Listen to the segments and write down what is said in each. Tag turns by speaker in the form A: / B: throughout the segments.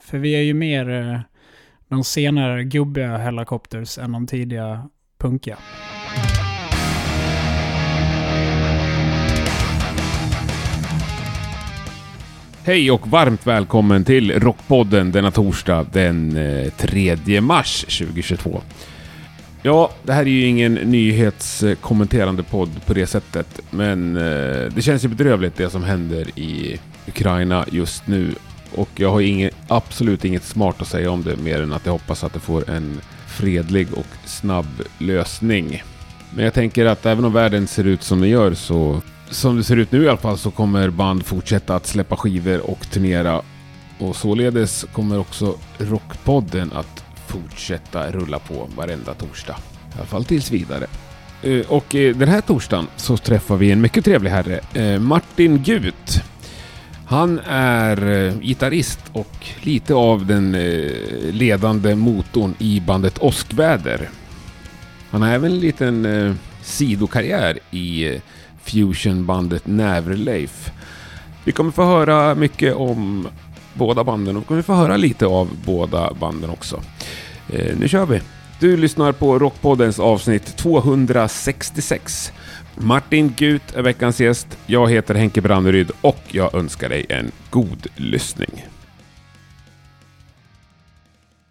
A: För vi är ju mer eh, de senare gubbiga Hellacopters än de tidiga punkiga.
B: Hej och varmt välkommen till Rockpodden denna torsdag den eh, 3 mars 2022. Ja, det här är ju ingen nyhetskommenterande podd på det sättet, men eh, det känns ju bedrövligt det som händer i Ukraina just nu och jag har inget, absolut inget smart att säga om det mer än att jag hoppas att det får en fredlig och snabb lösning. Men jag tänker att även om världen ser ut som den gör så som det ser ut nu i alla fall så kommer band fortsätta att släppa skivor och turnera. Och således kommer också Rockpodden att fortsätta rulla på varenda torsdag. I alla fall tills vidare. Eh, Och eh, den här torsdagen så träffar vi en mycket trevlig herre, eh, Martin Gut. Han är eh, gitarrist och lite av den eh, ledande motorn i bandet Åskväder. Han har även en liten eh, sidokarriär i eh, fusionbandet Näverleif. Vi kommer få höra mycket om båda banden och vi kommer få höra lite av båda banden också. Eh, nu kör vi! Du lyssnar på Rockpoddens avsnitt 266. Martin Gut är veckans gäst. Jag heter Henke Branneryd och jag önskar dig en god lyssning.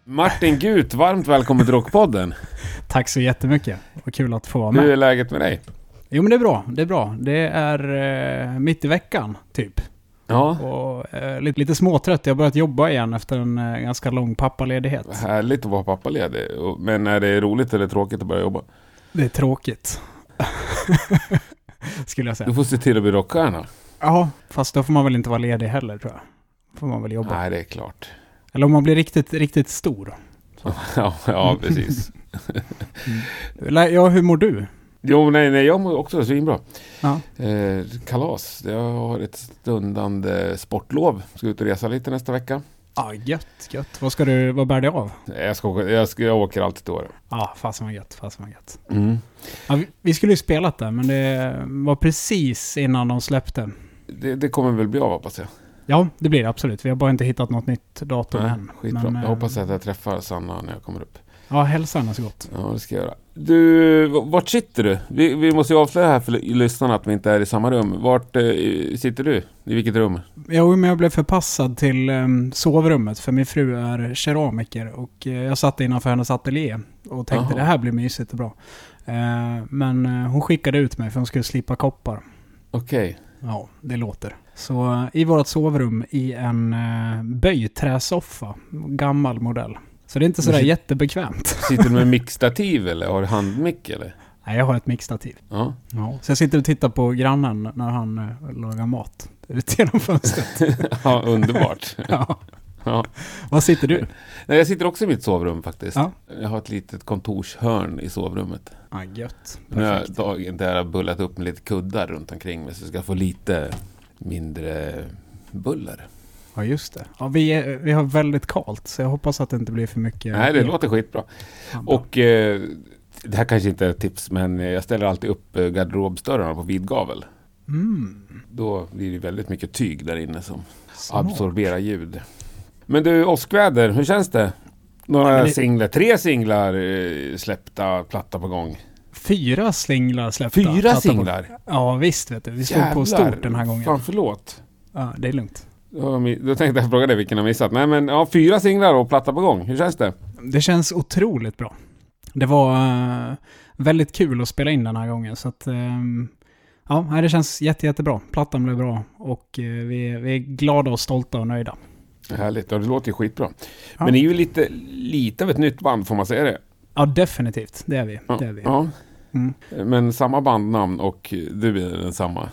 B: Martin Gut, varmt välkommen till Rockpodden.
A: Tack så jättemycket. Vad kul att få vara
B: Hur
A: med.
B: är läget med dig?
A: Jo men det är bra, det är bra. Det är eh, mitt i veckan, typ.
B: Ja,
A: Och eh, lite, lite småtrött. Jag har börjat jobba igen efter en eh, ganska lång pappaledighet.
B: härligt att vara pappaledig. Och- Men är det roligt eller tråkigt att börja jobba?
A: Det är tråkigt. Skulle jag
B: Du
A: säga.
B: får se till att bli rockstjärna.
A: Ja, fast då får man väl inte vara ledig heller tror jag. Får man väl jobba.
B: Nej, det är klart.
A: Eller om man blir riktigt, riktigt stor.
B: Ja, ja precis.
A: Eller, Ja, hur mår du?
B: Jo, nej, nej, jag mår också svinbra.
A: Ja.
B: Eh, kalas. Jag har ett stundande sportlov. Ska ut och resa lite nästa vecka.
A: Ja, Ah, gött, gött. Vad ska du, vad bär det av?
B: Nej, Jag, ska åka, jag, ska, jag åker alltid till Åre.
A: Ja, fasen vad gött, fasen vad gött.
B: Mm.
A: Ja, vi, vi skulle ju spelat det, men det var precis innan de släppte.
B: Det, det kommer väl bli av hoppas jag.
A: Ja, det blir det absolut. Vi har bara inte hittat något nytt datum
B: Nej,
A: än.
B: skitbra.
A: Men, eh,
B: jag hoppas att jag träffar Sanna när jag kommer upp.
A: Ja, hälsa henne så gott.
B: Ja, det ska jag göra. Du, v- vart sitter du? Vi, vi måste ju avslöja här för l- lyssnarna att vi inte är i samma rum. Vart eh, sitter du? I vilket rum?
A: Jo, men jag blev förpassad till ehm, sovrummet för min fru är keramiker och eh, jag satt innanför hennes ateljé och tänkte
B: Jaha.
A: det här blir mysigt och bra. Eh, men eh, hon skickade ut mig för hon skulle slippa koppar.
B: Okej.
A: Ja, det låter. Så eh, i vårt sovrum i en eh, böjträsoffa, gammal modell. Så det är inte sådär
B: Men-
A: jättebekvämt.
B: Sitter du med mickstativ eller? Har du handmick eller?
A: Nej, jag har ett mixtativ.
B: Ja.
A: Ja. Så jag sitter och tittar på grannen när han eh, lagar mat ut genom fönstret.
B: ja underbart.
A: ja.
B: Ja.
A: Var sitter du?
B: Nej, jag sitter också i mitt sovrum faktiskt.
A: Ja.
B: Jag har ett litet kontorshörn i sovrummet.
A: Ah, gött.
B: Nu har
A: Perfekt.
B: jag dagen där jag har bullat upp med lite kuddar runt omkring mig så jag ska få lite mindre buller.
A: Ja, just det. Ja, vi, är, vi har väldigt kallt, så jag hoppas att det inte blir för mycket.
B: Nej, det låter skitbra.
A: Ja, bra.
B: Och eh, det här kanske inte är ett tips, men jag ställer alltid upp eh, garderobsdörrarna på vid gavel.
A: Mm.
B: Då blir det väldigt mycket tyg där inne som
A: Smart.
B: absorberar ljud. Men du, åskväder, hur känns det?
A: Ja,
B: Några
A: men det-
B: singlar, tre singlar eh, släppta, platta på gång.
A: Fyra singlar släppta.
B: Fyra
A: Platta på-
B: singlar?
A: Ja, visst vet du. Vi slog på
B: Jävlar.
A: stort den här gången.
B: Fan, förlåt.
A: Ja, det är lugnt.
B: Då mi- då tänkte jag fråga dig vilken jag missat. Nej men ja, fyra singlar och platta på gång. Hur känns det?
A: Det känns otroligt bra. Det var eh, väldigt kul att spela in den här gången, så att... ehm, ja, nej, det känns jätte, jättebra. Plattan blev bra och eh, vi, är- vi är glada och stolta och nöjda.
B: Härligt, ja, det låter ju skitbra.
A: Ja.
B: Men ni är ju lite, lite av ett nytt band får man säga det.
A: Ja, definitivt. Det är vi.
B: Ja.
A: Det är vi.
B: Ja.
A: Mm.
B: Men samma bandnamn och du är densamma.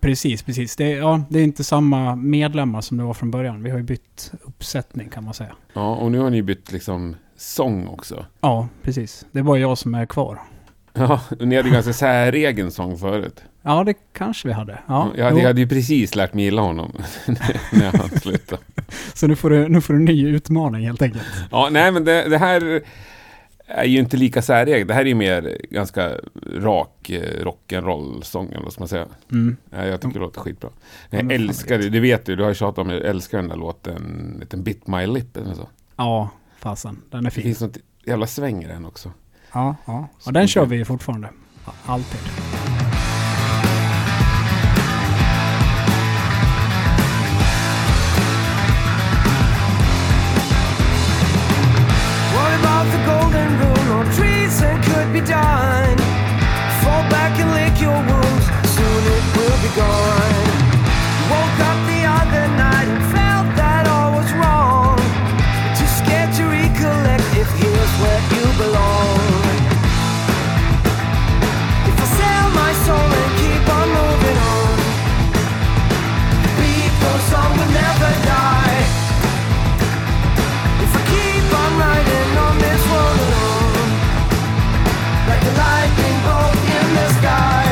A: Precis, precis. Det, är- ja, det är inte samma medlemmar som det var från början. Vi har ju bytt uppsättning kan man säga.
B: Ja, och nu har ni bytt liksom sång också.
A: Ja, precis. Det är bara jag som är kvar.
B: Ja, och ni hade ju ganska säregen sång förut.
A: Ja, det kanske vi hade. Ja,
B: jag, hade,
A: jo.
B: jag hade ju precis lärt mig gilla honom när han slutade.
A: Så nu får, du, nu får du en ny utmaning helt enkelt.
B: Ja, nej men det, det här är ju inte lika säregen. Det här är ju mer ganska rak eh, rock'n'roll-sång, eller vad ska man säga?
A: Mm.
B: Ja, jag tycker det låter skitbra.
A: men
B: Jag
A: fan
B: älskar
A: vet.
B: det, det vet du, du har ju tjatat om det. Jag älskar den där låten, liten Bit My Lip eller så.
A: Ja, fasen. Den är
B: Det
A: fin.
B: finns något jävla sväng i den också.
A: Ja, ja. Och den kör vi ju fortfarande. Ja, Alltid.
C: What about the golden rule or trees that could be done? Fall back and lick your wounds, soon it will be gone. Woke up the other night and felt that all was wrong. But Too scared to recollect if here's where you belong. If I sell my soul and keep on moving on, beat those song will never die. If I keep on riding on this road alone, like a lightning bolt in the sky.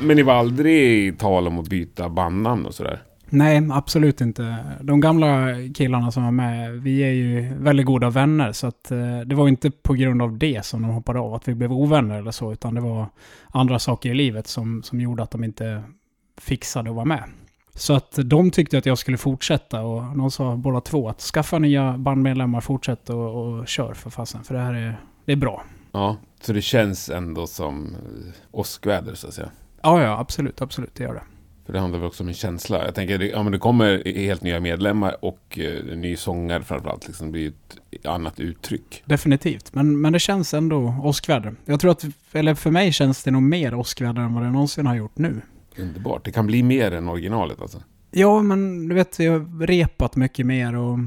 B: Men det var aldrig tal om att byta bandnamn och sådär?
A: Nej, absolut inte. De gamla killarna som var med, vi är ju väldigt goda vänner. Så att, eh, det var inte på grund av det som de hoppade av, att vi blev ovänner eller så. Utan det var andra saker i livet som, som gjorde att de inte fixade att vara med. Så att de tyckte att jag skulle fortsätta och någon sa båda två att skaffa nya bandmedlemmar, fortsätt och, och kör för fasen. För det här är, det är bra.
B: Ja, så det känns ändå som eh, åskväder så att säga.
A: Ja, ja, absolut, absolut, det gör det.
B: För det handlar väl också om en känsla. Jag tänker, det- ja men det kommer helt nya medlemmar och eh, en ny sångare framförallt. Liksom, det blir ju ett annat uttryck.
A: Definitivt, men, men det känns ändå åskväder. Jag tror att, eller för mig känns det nog mer åskväder än vad det någonsin har gjort nu.
B: Underbart. Det kan bli mer än originalet alltså.
A: Ja, men du vet, vi har repat mycket mer och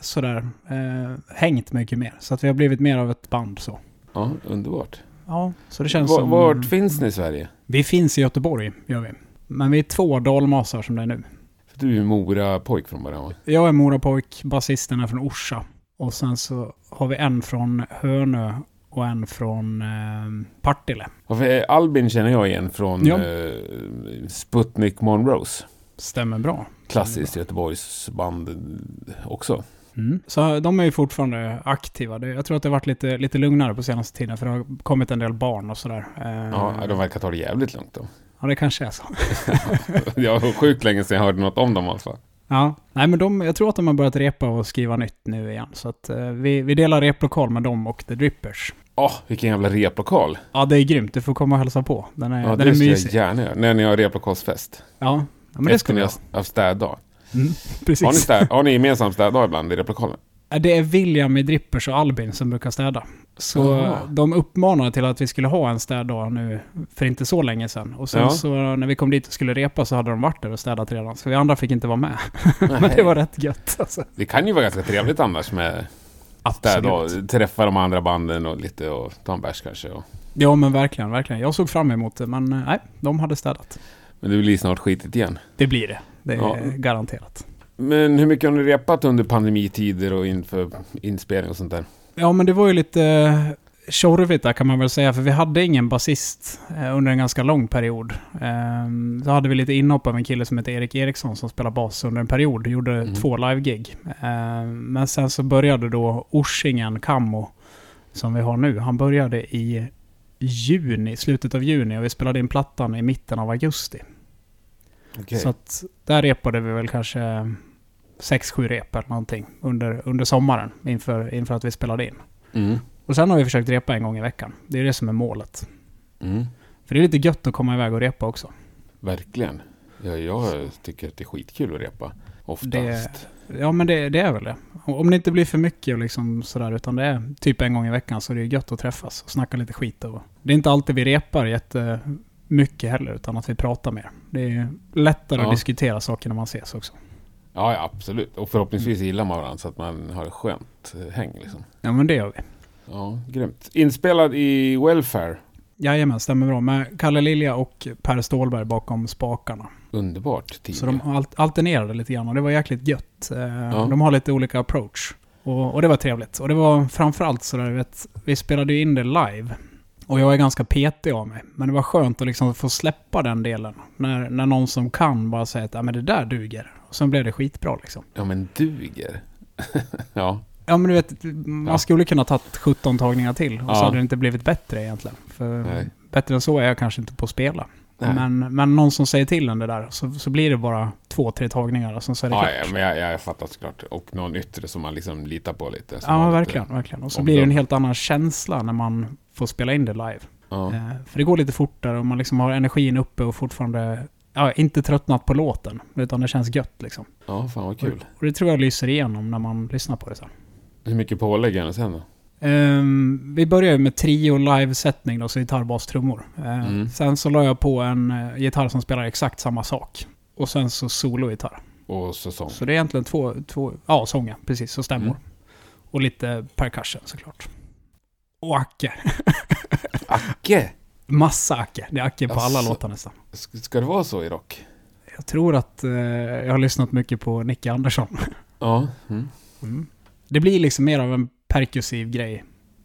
A: sådär, eh, hängt mycket mer. Så att vi har blivit mer av ett band så.
B: Ja, underbart.
A: Ja, så det känns
B: Var,
A: som...
B: Vart finns ni i Sverige?
A: Vi finns i Göteborg, gör vi. Men vi är två dalmasar som det är nu.
B: För du är ju Mora-pojk från början va?
A: Jag är Morapojk, basisten är från Orsa. Och sen så har vi en från Hönö och en från eh, Partille.
B: Ja, för, eh, Albin känner jag igen från
A: Ja.
B: eh, Sputnik Monrose.
A: Stämmer bra.
B: Klassiskt Göteborgsband eh, också.
A: Så de är ju fortfarande aktiva. Det- Jag tror att det har varit lite, lite lugnare på senaste tiden för det har kommit en del barn och sådär. Eh,
B: Ja, de verkar ta det jävligt lugnt då.
A: ja, det kanske är så.
B: Jag var sjukt länge sedan jag hörde något om dem i alla fall.
A: Ja. Nej, men de, jag tror att de har börjat repa och skriva nytt nu igen. Så att eh, vi, vi delar replokal med dem och The Drippers.
B: Åh, vilken jävla replokal!
A: Ja, det är grymt. Du får komma och hälsa på. Den är,
B: Ja,
A: Mm. den
B: det
A: är
B: ska jag
A: mysig. Ja.
B: gärna göra. När ni har replokalsfest.
A: ja, men det ska
B: Efter
A: vi
B: ni
A: ha.
B: har- har städdag.
A: Mm,
B: Har ni,
A: precis.
B: städ, har ni gemensam städdag ibland i replokalen?
A: Äh, Det är William i Drippers och Albin som brukar städa. Så eh,
B: Jaha.
A: de uppmanade till att vi skulle ha en städdag nu för inte så länge sedan. Och sen
B: Ja.
A: så när vi kom dit och skulle repa så hade de varit där och städat redan. Så vi andra fick inte vara med. Men det var rätt gött alltså.
B: Det kan ju vara ganska trevligt annars med
A: Absolut.
B: städdag. Träffa de andra banden och lite och ta en bärs kanske. Och.
A: Ja men verkligen, verkligen. Jag såg fram emot det men eh, nej, de hade städat.
B: Men det blir snart skitigt igen.
A: Det blir det. Det är
B: Ja.
A: garanterat.
B: Men hur mycket har ni repat under pandemitider och inför inspelning och sånt där?
A: Ja men det var ju lite eh, tjorvigt där kan man väl säga. För vi hade ingen basist eh, under en ganska lång period. Eh, Så hade vi lite inhopp av en kille som heter Erik Eriksson som spelade bas under en period. Gjorde
B: Mm.
A: två live-gig. Eh, Men sen så började då Orsingen Kammo som vi har nu. Han började i juni, slutet av juni och vi spelade in plattan i mitten av augusti. Så att där repade vi väl kanske 6-7 rep eller någonting under, under sommaren inför, inför att vi spelade in.
B: Mm.
A: Och sen har vi försökt repa en gång i veckan. Det är det som är målet.
B: Mm.
A: För det är lite gött att komma iväg och repa också.
B: Verkligen. Ja, jag tycker att det är skitkul att repa. Oftast.
A: Det- Ja men det, det är väl det. Och Om det inte blir för mycket och liksom sådär utan det är typ en gång i veckan så är det gött att träffas och snacka lite skit. Och det är inte alltid vi repar jättemycket heller utan att vi pratar mer. Det är lättare
B: Ja.
A: att diskutera saker när man ses också.
B: Ja, ja, absolut. Och förhoppningsvis gillar man varandra så att man har ett skönt eh, häng. Liksom.
A: Ja men det gör vi.
B: Ja, grymt. Inspelad i Welfare.
A: Jajamän, stämmer bra. Med Kalle Lilja och Per Stålberg bakom spakarna.
B: Underbart tid.
A: Så de al- alternerade lite grann och det var jäkligt gött. Eh, De har lite olika approach. Och, och det var trevligt. Och det var framförallt sådär, du vet, vi spelade ju in det live. Och jag är ganska petig av mig. Men det var skönt att liksom få släppa den delen. När, när någon som kan bara säger att ja men det där duger. Och sen blev det skitbra liksom.
B: Ja, men duger. Ja.
A: Ja men du vet, man
B: Ja.
A: skulle kunna tagit 17 tagningar till och
B: Ja.
A: så hade det inte blivit bättre egentligen. För
B: Nej.
A: bättre än så är jag kanske inte på att spela.
B: Nej.
A: Men, men någon som säger till en det där så, så blir det bara två, tre tagningar och sen så är det
B: Ja,
A: klart.
B: ja, men jag, jag fattar såklart. Och någon yttre som man liksom litar på lite. som har
A: Ja,
B: lite-
A: verkligen, verkligen. Och så
B: om
A: blir det
B: de-
A: en helt annan känsla när man får spela in det live.
B: Ja.
A: Eh, För det går lite fortare och man liksom har energin uppe och fortfarande ja, inte tröttnat på låten. Utan det känns gött liksom.
B: ja, fan vad kul.
A: Och det tror jag lyser igenom när man lyssnar på det sen.
B: Hur mycket pålägg är det sen då?
A: Ehm, vi började med trio live-sättning då, så gitarr, bas, trummor. Ehm,
B: Mm.
A: Sen så la jag på en eh, gitarr som spelar exakt samma sak. Och sen så solo-gitarr.
B: Och säsong?
A: Så det är egentligen två, två ja sånger, precis, och stämmor.
B: Mm.
A: Och lite percussion såklart. Och Acke.
B: Acke!
A: Massa Acke. Det är Acke på alla
B: Jaså.
A: låtar nästan.
B: S- Ska det vara så i rock?
A: Jag tror att eh, jag har lyssnat mycket på Nicke Andersson.
B: Ja. Mm.
A: Mm. Det blir liksom mer av en perkussiv grej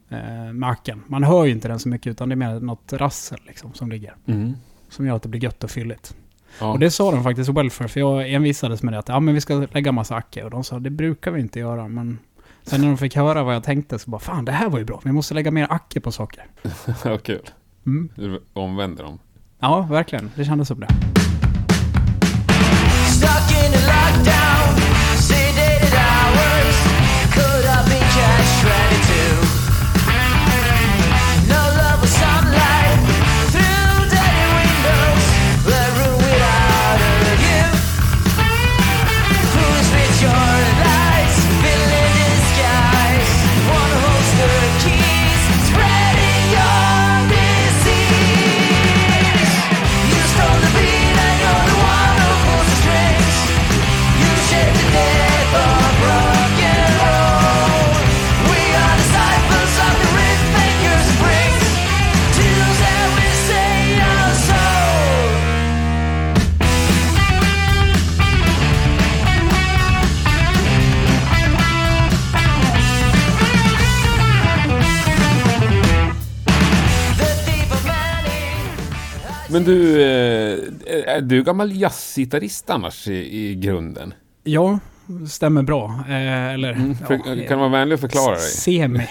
A: eh, med Acken. Man hör ju inte den så mycket utan det är mer något rassel liksom som ligger.
B: Mm.
A: Som gör att det blir gött och fylligt.
B: Ja.
A: Och det sa de faktiskt, Welfare, för jag envisades med det att ja, men vi ska lägga massa acke. Och de sa det brukar vi inte göra, men sen när de fick höra vad jag tänkte så bara fan det här var ju bra, vi måste lägga mer acke på saker.
B: Vad kul.
A: Mm.
B: Du omvänder dem.
A: Ja, verkligen. Det kändes som det.
C: Stuck in a lockdown, sedated hours, caught up in cash gratitude. No love or sunlight through dirty windows, the room without a review. Who's with your lights, villain disguise? One holds the keys, spreading your disease. You stole the beat and you're the one who pulls the strings. You shape the death of rock and roll. We are disciples of the rhythm and your springs. To those that we say our soul. The thief of money.
B: Men du, eh, är du gammal jazzgitarrist annars i, i grunden? Mm.
A: Ja, stämmer bra. Eh, eller...
B: För,
A: ja,
B: kan du vara vänlig och förklara dig?
A: Semi.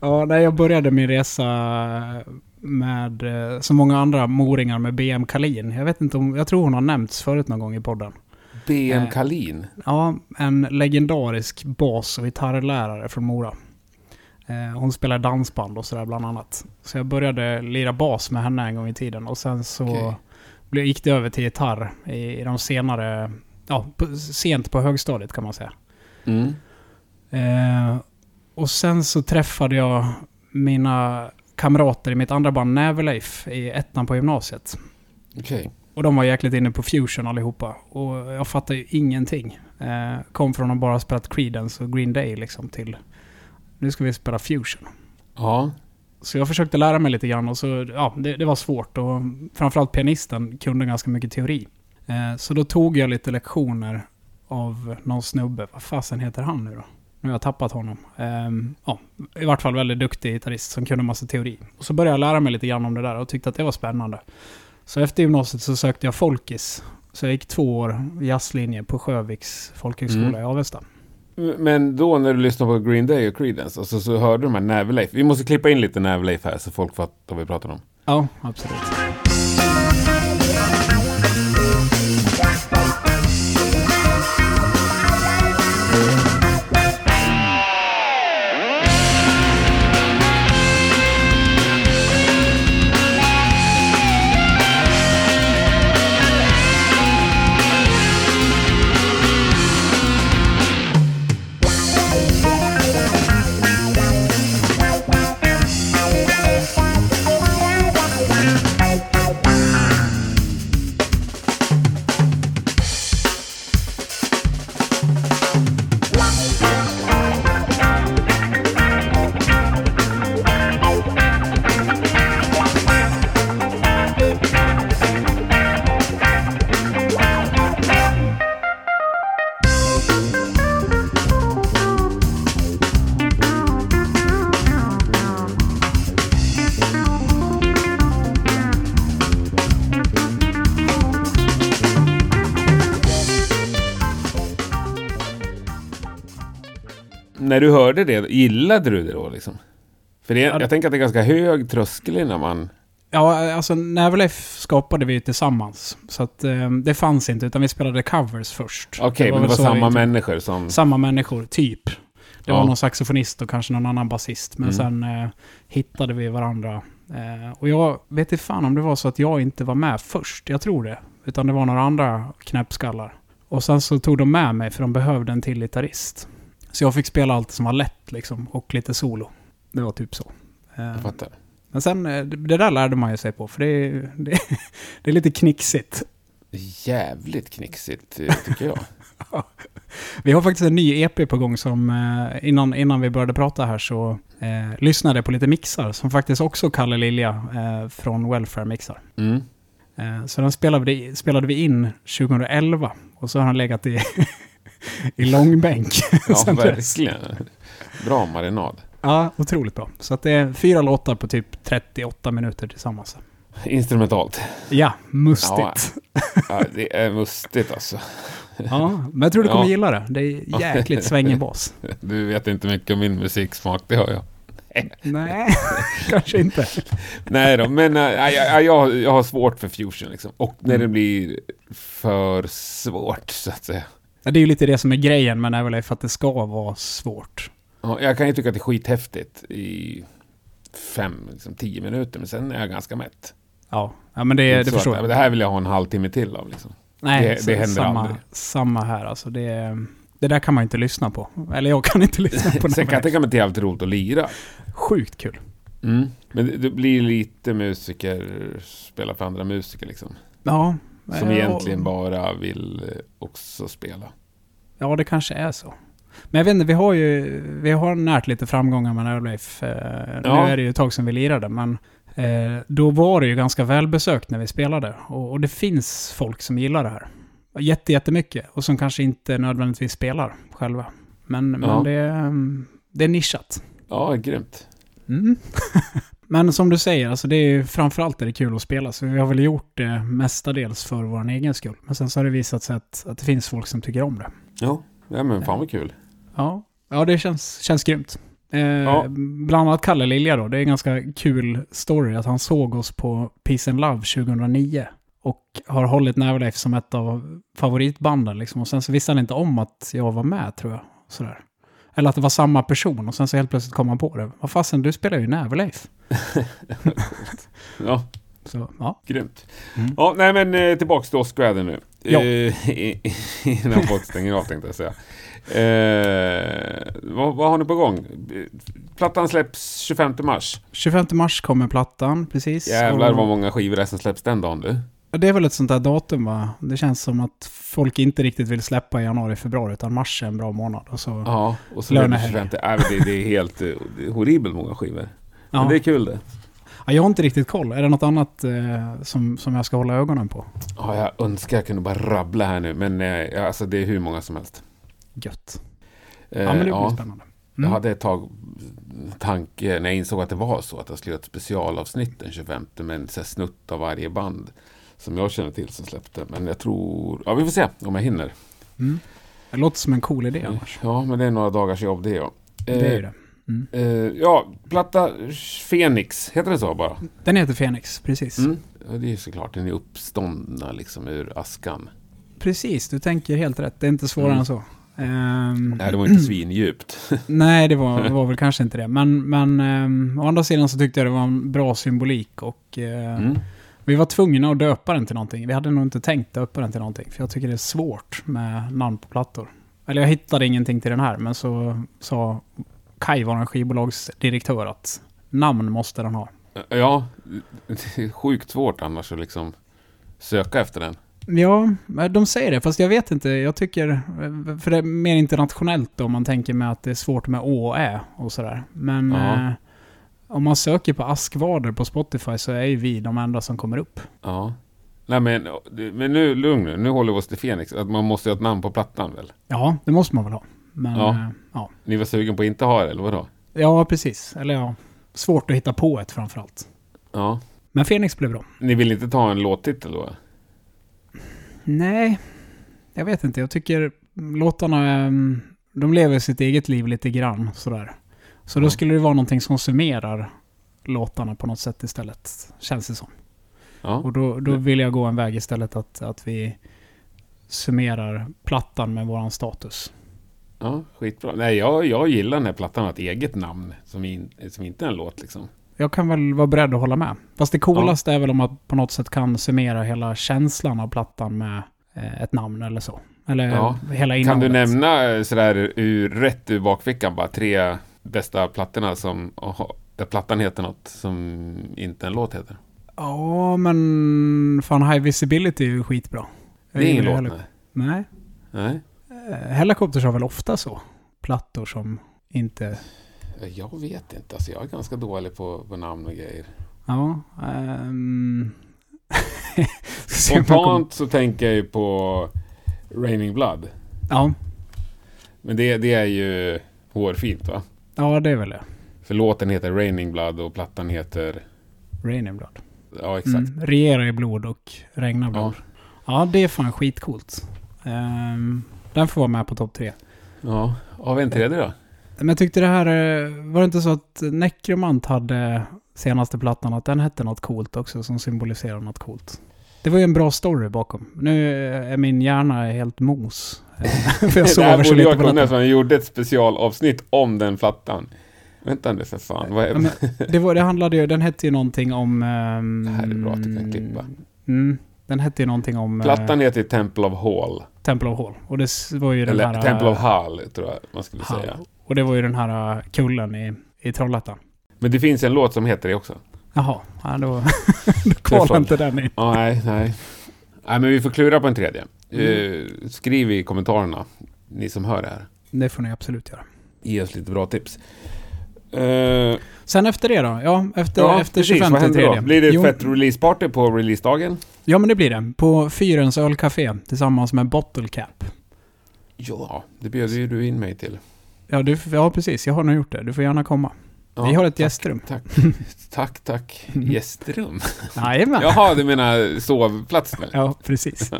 A: ja, när jag började min resa med, eh, som många andra moringar, med BM Kalin. Jag vet inte om, jag tror hon har nämnts förut någon gång i podden.
B: BM
A: eh,
B: Kalin?
A: Ja, en legendarisk bas och gitarrlärare från Mora. Eh, Hon spelar dansband och sådär bland annat. Så jag började lira bas med henne en gång i tiden och sen så
B: Okej.
A: blev- gick det över till gitarr i, i de senare, ja, på, sent på högstadiet kan man säga.
B: Mm.
A: Eh, och sen så träffade jag mina kamrater i mitt andra band Näverleif i ettan på gymnasiet.
B: Okej.
A: Och de var jäkligt inne på fusion allihopa. Och jag fattar ju ingenting. Eh, kom från att bara ha spelat Creedence och Green Day liksom till nu ska vi spela fusion.
B: Ja.
A: Så jag försökte lära mig lite grann och så, ja, det, det var svårt. Och framförallt pianisten kunde ganska mycket teori. Eh, så då tog jag lite lektioner av någon snubbe. Vad fasen heter han nu då? Nu har jag tappat honom. Ehm, ja, I vart fall väldigt duktig gitarrist som kunde massa teori. Och så började jag lära mig lite grann om det där och tyckte att det var spännande. Så efter gymnasiet så sökte jag folkis. Så jag gick två år jazzlinje på Sjöviks folkhögskola
B: Mm.
A: i Avesta.
B: Men då när du lyssnade på Green Day och Creedence, alltså, så hörde du de här Näverleif. Vi måste klippa in lite Näverleif här så folk fattar vad vi pratar om.
A: Ja, absolut.
D: Bye.
B: när du hörde det, gillade du det då liksom? För det,
A: Ja, det-
B: jag tänker att det är ganska hög tröskel innan man...
A: Ja, alltså Nävel F skapade vi ju tillsammans. Så att eh, det fanns inte, utan vi spelade covers först.
B: Okej, men det
A: väl
B: var
A: så
B: samma
A: vi-
B: människor som...
A: Samma människor, typ. Det
B: Ja.
A: var någon saxofonist och kanske någon annan basist. Men
B: Mm.
A: sen eh, hittade vi varandra. Eh, och jag vet inte fan om det var så att jag inte var med först. Jag tror det. Utan det var några andra knäppskallar. Och sen så tog de med mig för de behövde en till gitarrist. Så jag fick spela allt som var lätt liksom. Och lite solo. Det var typ så.
B: Jag
A: Eh,
B: fattar.
A: men sen, eh, det det där lärde man ju sig på. För det, det, det är lite knixigt.
B: Jävligt knixigt, eh, tycker jag.
A: Vi har faktiskt en ny EP på gång som eh, innan, innan vi började prata här så eh, lyssnade jag på lite mixar som faktiskt också Kalle Lilja eh, från Welfare mixar.
B: Mm.
A: Eh, så den spelade vi, spelade vi in 2011 och så har han legat i, i långbänk.
B: Ja,
A: Sen dess.
B: verkligen. Bra marinad.
A: Ja, otroligt bra. Så att det är fyra låtar på typ 38 minuter tillsammans.
B: Instrumentalt.
A: Ja, mustigt.
B: Ja, det är mustigt alltså.
A: Ja. men jag tror du kommer
B: Ja.
A: gilla det. Det är jäkligt svängig bas.
B: Du vet inte mycket om min musiksmak, det har jag.
A: Nej, kanske inte.
B: Nej då, men äh, jag, jag, jag, jag har svårt för fusion liksom. Och när
A: Mm.
B: det blir för svårt, så att säga.
A: Ja, Det är ju lite det som är grejen med Neverlife, att det ska vara svårt.
B: Ja, jag kan ju tycka att det är skithäftigt i fem, liksom tio minuter, men sen är jag ganska mätt.
A: Ja, ja men det,
B: Så
A: det
B: att,
A: förstår
B: ja,
A: jag.
B: men Det här vill jag ha en halvtimme till av liksom.
A: Nej,
B: det- det
A: så-
B: händer
A: samma,
B: aldrig.
A: Samma här alltså. Det, det där kan man ju inte lyssna på. Eller jag kan inte lyssna på
B: Sen kan jag
A: Neverlife.
B: tänka mig att det är jävligt roligt att lira.
A: Sjukt kul.
B: Mm. Men det, det blir lite musiker, spela för andra musiker liksom.
A: Ja.
B: Som
A: eh,
B: egentligen
A: och-
B: bara vill eh, också spela.
A: Ja, det kanske är så. Men jag vet inte, vi har ju vi har närt lite framgångar med Neverlife. Eh,
B: Ja.
A: Nu är det ju ett tag sedan vi lirade, men eh, då var det ju ganska välbesökt när vi spelade. Och, och det finns folk som gillar det här. Jätte, jättemycket. Och som kanske inte nödvändigtvis spelar själva. Men,
B: Ja.
A: men det, eh, det är nischat.
B: Ja, grymt.
A: Mm. Men som du säger, alltså det är ju framförallt är det kul att spela, så vi har väl gjort det mestadels för vår egen skull. Men sen så har det visat sig att, att det finns folk som tycker om det.
B: Ja, ja men fan vad kul.
A: Ja, ja det känns, känns grymt. Eh,
B: Ja.
A: Bland annat Kalle Lilja då, det är en ganska kul story att han såg oss på Peace and Love 2009 och har hållit Neverlife som ett av favoritbanden liksom. Och sen så visste han inte om att jag var med tror jag. Sådär. Eller att det var samma person och sen så helt plötsligt kom han på det. Vad fasen, du spelar ju Neverlife.
B: Ja,
A: Så, ja.
B: grymt.
A: Mm.
B: Ja, nej men eh, tillbaks till Oscraden nu.
A: Ja.
B: Eh, i- i- Innan folk stänger av tänkte jag säga. Eh, vad, vad har ni på gång? Eh, Plattan släpps 25 mars.
A: 25 mars kommer plattan, precis.
B: Jävlar
A: Och-
B: vad många skivor det är som släpps den dagen du.
A: Ja, Det är väl ett sånt där datum va? Det känns som att folk inte riktigt vill släppa i januari, februari, utan mars är en bra månad. Och så,
B: Ja, och så blir det
A: Lönehelg.
B: 25. Nej, men det, det är helt eh, det är horribelt många skivor.
A: Ja.
B: Men det är kul det.
A: Ja, jag har inte riktigt koll. Är det något annat eh, som, som jag ska hålla ögonen på?
B: Ja, jag önskar jag kunde bara rabbla här nu, men eh, ja, alltså, det är hur många som helst.
A: Gött.
B: Eh,
A: Ja, men det blir
B: ja.
A: spännande.
B: Jag
A: Mm.
B: hade ett tag tanke när jag insåg att det var så att jag skulle göra ett specialavsnitt den 25 med en så här snutt av varje band som jag känner till som släppte. Men jag tror... Ja, vi får se om jag hinner.
A: Mm. Det låter som en cool idé
B: Eh,
A: annars.
B: Ja, men det är några dagars jobb det, ja.
A: Det är ju det. Mm.
B: Eh, ja, platta Fenix, heter det så bara?
A: Den heter Fenix, precis.
B: Mm. Ja, det är ju såklart, den är uppståndna liksom ur askan.
A: Precis, du tänker helt rätt. Det är inte svårare
B: Mm.
A: än så. Ehm,
B: Nej, det var inte svindjupt.
A: nej, det var, det var väl kanske inte det. Men, men ehm, å andra sidan så tyckte jag det var en bra symbolik och eh,
B: Mm.
A: vi var tvungna att döpa den till någonting. Vi hade nog inte tänkt döpa den till någonting, för jag tycker det är svårt med namn på plattor. Eller jag hittade ingenting till den här, men så sa Kai, vår skivbolagsdirektör, att namn måste den ha.
B: Ja, det är sjukt svårt annars att liksom söka efter den.
A: Ja, men de säger det, fast jag vet inte. Jag tycker, för det är mer internationellt då, om man tänker med att det är svårt med å och ä och sådär. Men
B: Ja.
A: eh, om man söker på askvader på Spotify så är ju vi de enda som kommer upp.
B: Ja. Nej men, men nu, lugn nu, nu håller vi oss till Fenix. Att man måste ha ett namn på plattan väl?
A: Ja, det måste man väl ha. Men,
B: Ja.
A: eh, ja.
B: Ni var sugen på att inte ha det, eller vadå?
A: Ja, precis. Eller ja, svårt att hitta på ett framförallt.
B: Ja.
A: Men Fenix blev bra.
B: Ni vill inte ta en låttitel då?
A: Nej, jag vet inte. Jag tycker låtarna... ehm, de lever sitt eget liv lite grann sådär. Så då skulle det vara någonting som summerar låtarna på något sätt istället, känns det som.
B: Ja.
A: Och då, då vill jag gå en väg istället att, att vi summerar plattan med våran status.
B: ja, skitbra. Nej, jag, jag gillar den här plattan med ett eget namn som, in, som inte är en låt liksom.
A: Jag kan väl vara beredd att hålla med. Fast det coolaste är väl om man på något sätt kan summera hela känslan av plattan med eh, ett namn eller så. Eller
B: Ja.
A: hela
B: Kan
A: innehållet.
B: du nämna eh, sådär ur, rätt ur bakfickan bara tre bästa plattorna som, aha, där plattan heter något som inte en låt heter?
A: Ja, men fan High Visibility är ju skitbra.
B: Det är ingen låt,
A: Heli-
B: nej.
A: Nej.
B: nej.
A: Eh, Helicopters har väl ofta så. Plattor som inte...
B: Jag vet inte, alltså jag är ganska dålig på, på namn och grejer.
A: Ja. ehm. Se om jag kommer-
B: Spontant så tänker jag ju på Raining Blood.
A: Ja.
B: Men det, det är ju hårfint va?
A: ja, det är väl det.
B: För låten heter Raining Blood och plattan heter...
A: Raining Blood.
B: Ja, exakt.
A: Mm. Regera i blod och regna blod. Ja, det är fan skitcoolt. Ehm, den får vara med på topp tre.
B: Ja. Har vi en tredje då?
A: Men jag tyckte det här... eh, Var det inte så att Necromant hade senaste plattan, att den hette något coolt också, som symboliserar något coolt? Det var ju en bra story bakom. Nu eh, är min hjärna helt mos. eh, För jag
B: det här
A: sover så
B: borde
A: lite
B: jag
A: på
B: kunna
A: natten.
B: eftersom jag gjorde ett specialavsnitt om den plattan. Vänta nu för fan. Vad är...
A: Ja, men det, var, det handlade ju... Den hette ju någonting om... ehm,
B: Det här är bra att du kan klippa.
A: Mm, den hette ju någonting om... eh,
B: Plattan heter ju Temple of Hall.
A: Temple of Hall. Och det s- var ju den
B: Eller
A: här...
B: Temple of Hall tror jag man skulle
A: Hall.
B: säga.
A: Och det var ju den här eh, kullen i, i Trollhättan.
B: Men det finns en låt som heter det också.
A: Jaha, ja, då, då kvalar
B: får-
A: inte den in.
B: Ja, nej, nej. Nej, men vi får klura på en tredje.
A: Mm.
B: Eh, skriv i kommentarerna, ni som hör det här.
A: Det får ni absolut göra.
B: Ge oss lite bra tips. Eh,
A: Sen efter det då? Ja, efter,
B: ja,
A: efter
B: precis.
A: 25
B: Vad händer
A: tredje.
B: då? Blir det ett
A: Jo,
B: fett releaseparty på releasedagen?
A: Ja, men det blir det. På Fyrens ölcafé tillsammans med Bottle Cap.
B: Ja, det bjöd ju du in mig till.
A: Ja, du, ja, precis. Jag har nog gjort det. Du får gärna komma.
B: Ja,
A: Vi har Mm. ett
B: tack,
A: gästrum.
B: Tack, tack, tack. Gästrum?
A: Jajamän. Ja.
B: Jaha, du menar sovplats? väl?
A: ja, precis.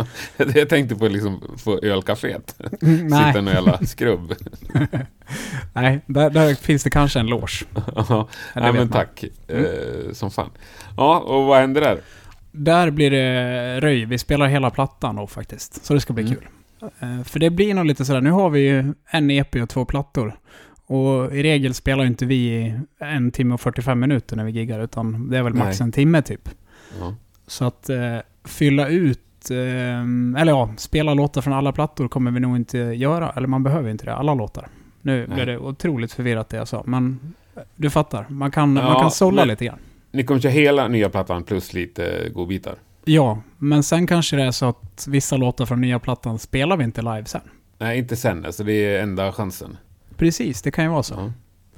B: Jag tänkte på liksom få ölcaféet.
A: Mm,
B: Sitta i
A: nej,
B: någon jävla skrubb.
A: nej där, där finns det kanske en loge.
B: Ja,
A: Ja, det
B: nej,
A: vet
B: men
A: man. Mm.
B: tack. Eh, som fan. Ja, och vad händer där?
A: Där blir det röj. Vi spelar hela plattan då faktiskt. Så det ska bli
B: Mm.
A: kul. Eh, För det blir nog lite sådär, nu har vi ju en EP och två plattor. Och i regel spelar ju inte vi i en timme och 45 minuter när vi giggar, utan det är väl max
B: Nej.
A: en timme typ.
B: Ja.
A: Så att eh, fylla ut, eh, eller ja, spela låtar från alla plattor kommer vi nog inte göra. Eller man behöver inte det, alla låtar. Nu
B: Nej.
A: blev det otroligt förvirrat det jag sa, men du fattar. Man kan, man
B: Ja,
A: kan sålla
B: men-
A: lite grann.
B: Ni kommer köra hela nya plattan plus lite godbitar?
A: Ja, men sen kanske det är så att vissa låtar från nya plattan spelar vi inte live sen.
B: Nej, inte sen. Alltså det är enda chansen.
A: Precis, det kan ju vara så.
B: Ja.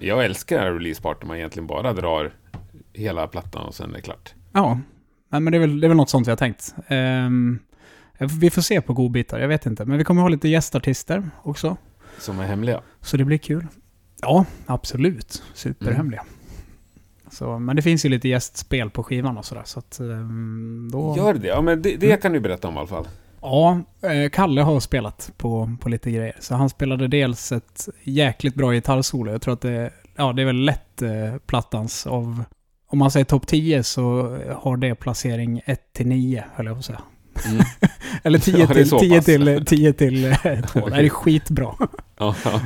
B: Jag älskar releaseparty. Man egentligen bara drar hela plattan och sen är det klart.
A: Ja, Nej, men det är, väl, det är väl något sånt vi har tänkt. Ehm, vi får se på godbitar, jag vet inte. Men vi kommer ha lite gästartister också,
B: Som är hemliga.
A: så det blir kul. Ja, absolut. Superhemliga. Så, men det finns ju lite gästspel på skivan och sådär, så att ehm, då...
B: Gör det? Ja, men det, det kan du berätta om i alla fall.
A: Ja, eh, Kalle har spelat på, på lite grejer. Så han spelade dels ett jäkligt bra gitarrsolo. Jag tror att det, ja, det är väl lätt eh, plattans av... Om man säger topp 10 så har det placering 1 till 9, höll jag på att säga.
B: Mm.
A: Eller 10
B: Ja, det är
A: till
B: så
A: 10
B: pass.
A: till, 10 till eh, 2. Det här är skitbra.
B: Ja, ja.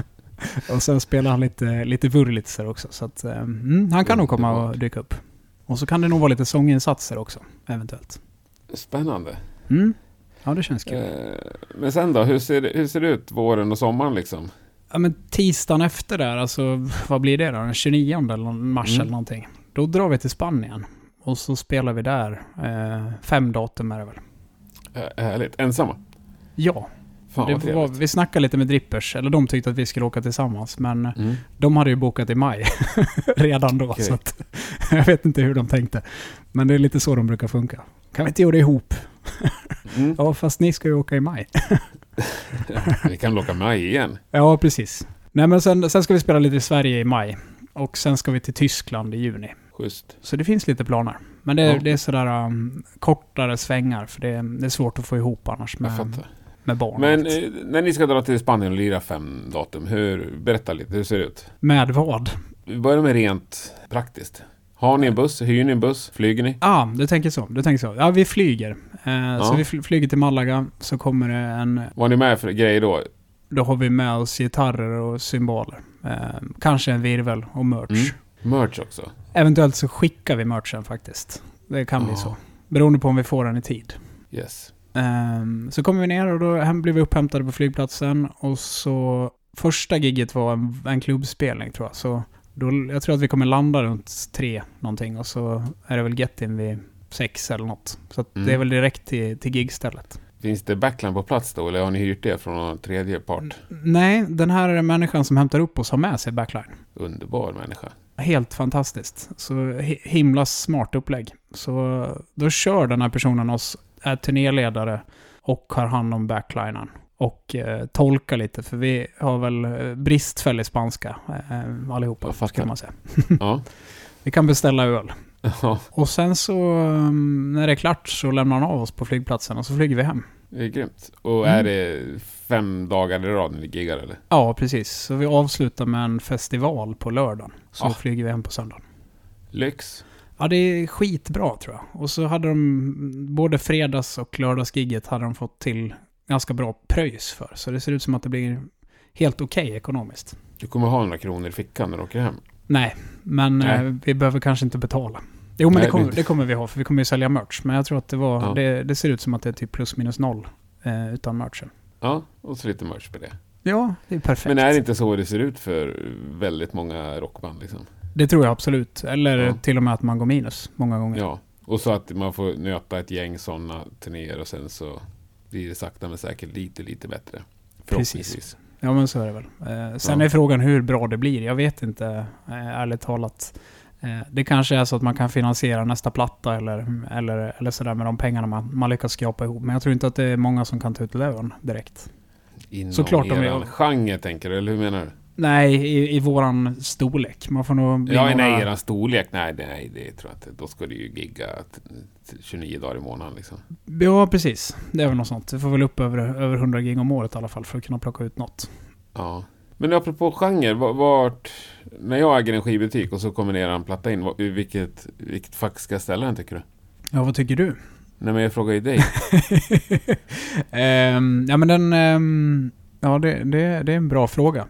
A: Och sen spelar han lite, lite Wurlitzer också. Så att, eh, mm, han kan nog komma och dyka upp. Och så kan det nog vara lite sånginsatser också, eventuellt.
B: Spännande.
A: Mm. Ja, det känns kul.
B: Eh, men sen då? Hur ser, det- hur ser det ut våren och sommaren liksom?
A: Ja men tisdagen efter där, alltså vad blir det då? Den 29 eller någon- mars
B: Mm.
A: eller någonting. Då drar vi till Spanien. Och så spelar vi där. Eh, fem datum är det väl?
B: Eh, härligt. Ensamma?
A: Ja,
B: Fan vad
A: det var,
B: trevligt.
A: vi snackade lite med Drippers, eller de tyckte att vi skulle åka tillsammans, men
B: Mm.
A: de hade ju bokat i maj redan då.
B: Okej.
A: Så att, jag vet inte hur de tänkte. Men det är lite så de brukar funka. Kan vi inte göra det ihop?
B: Mm.
A: Ja, fast ni ska ju åka i maj.
B: Vi kan locka mig igen.
A: Ja, precis. Nej, men sen, sen ska vi spela lite i Sverige i maj. Och sen ska vi till Tyskland i juni.
B: Schysst.
A: Så det finns lite planer. Men det,
B: Ja.
A: det är sådär um, kortare svängar för det, det är svårt att få ihop annars
B: Jag
A: med,
B: fattar. Men
A: allt.
B: eh, när ni ska dra till Spanien och lira fem datum, hur, berätta lite, hur ser det ut?
A: Med vad?
B: Vi börjar med rent praktiskt. Har ni en buss? Hyr ni en buss? Flyger ni?
A: Ja, ah, du tänker så. Du tänker så. Ja, vi flyger. Eh, Så vi fl- flyger till Malaga, så kommer det en...
B: Var ni med för grejer då?
A: Då har vi med oss gitarrer och cymbaler. Eh, kanske en virvel och merch.
B: Mm. Merch också?
A: Eventuellt så skickar vi merchen faktiskt. Det kan bli
B: Ja.
A: så. Beroende på om vi får den i tid.
B: Yes.
A: Ehm, så kommer vi ner och då hem blev vi upphämtade på flygplatsen och så första gigget var en, en klubbspelning tror jag. Så då, jag tror att vi kommer landa runt tre någonting och så är det väl get in vid sex eller något. Så att
B: Mm.
A: det är väl direkt till, till gigstället.
B: Finns det backline på plats då, eller har ni hyrt det från någon tredje
A: Mm.
B: part?
A: Nej, den här människan som hämtar upp oss har med sig backline.
B: Underbar människa.
A: Helt fantastiskt. Så hi- himla smart upplägg. Så då kör den här personen oss, är turnéledare och har hand om backlinen. Och eh, tolkar lite, för vi har väl eh, bristfällig spanska eh, allihopa,
B: Jag fattar.
A: kan man säga.
B: Ja.
A: Vi kan beställa öl.
B: ja,
A: Och sen så, eh, när det är klart så lämnar han av oss på flygplatsen och så flyger vi hem.
B: det är grymt. Och
A: Mm.
B: är det fem dagar i rad ni giggar eller?
A: Ja, precis. Så vi avslutar med en festival på lördagen. Så
B: Ah.
A: flyger vi hem på söndagen.
B: Lyx.
A: Ja, det är skitbra tror jag. Och så hade de, både fredags och lördagsgigget hade de fått till ganska bra pröjs för. Så det ser ut som att det blir helt okej ekonomiskt.
B: Du kommer ha några kronor i fickan när du åker hem.
A: Nej, men
B: Nej.
A: Eh, vi behöver kanske inte betala. Jo, men
B: Nej,
A: det, kommer,
B: det-
A: det kommer vi ha, för vi kommer ju sälja merch. Men jag tror att det var,
B: Ja.
A: det, det ser ut som att det är typ plus minus noll eh, utan merchen.
B: Ja, och så lite merch på det.
A: Ja, det är perfekt.
B: Men är det inte så det ser ut för väldigt många rockband liksom?
A: Det tror jag absolut. Eller
B: Ja.
A: till och med att man går minus många gånger.
B: Ja. Och så att man får nöta ett gäng sådana turnéer och sen så blir det sakta men säkert lite, lite bättre. Förhoppningsvis.
A: Ja, men så är det väl. Eh, sen
B: Ja.
A: är frågan hur bra det blir. Jag vet inte, eh, ärligt talat. Eh, det kanske är så att man kan finansiera nästa platta eller, eller, eller sådär med de pengarna man, man lyckas skrapa ihop. Men jag tror inte att det är många som kan ta ut lön direkt.
B: Inom
A: Såklart om
B: eran
A: jag-
B: genre tänker du, eller hur menar du?
A: Nej, i, i våran storlek. Man får nog... bli
B: Ja,
A: några-
B: nej, eran storlek. Nej, nej, det tror jag inte. Då ska du ju gigga t- t- 29 dagar i månaden liksom.
A: Ja, precis. Det är väl något sånt. Du får väl upp över, över 100 gig om året i alla fall för att kunna plocka ut något.
B: Ja. Men apropå genre, va- vart... När jag äger en skivbutik och så kommer ner en platta in, va- i vilket, vilket fack ska jag ställa den tycker du?
A: Ja, vad tycker du?
B: Nej, men jag frågar ju dig.
A: Ehm, ja, men den... ehm, ja, det, det, det är en bra fråga.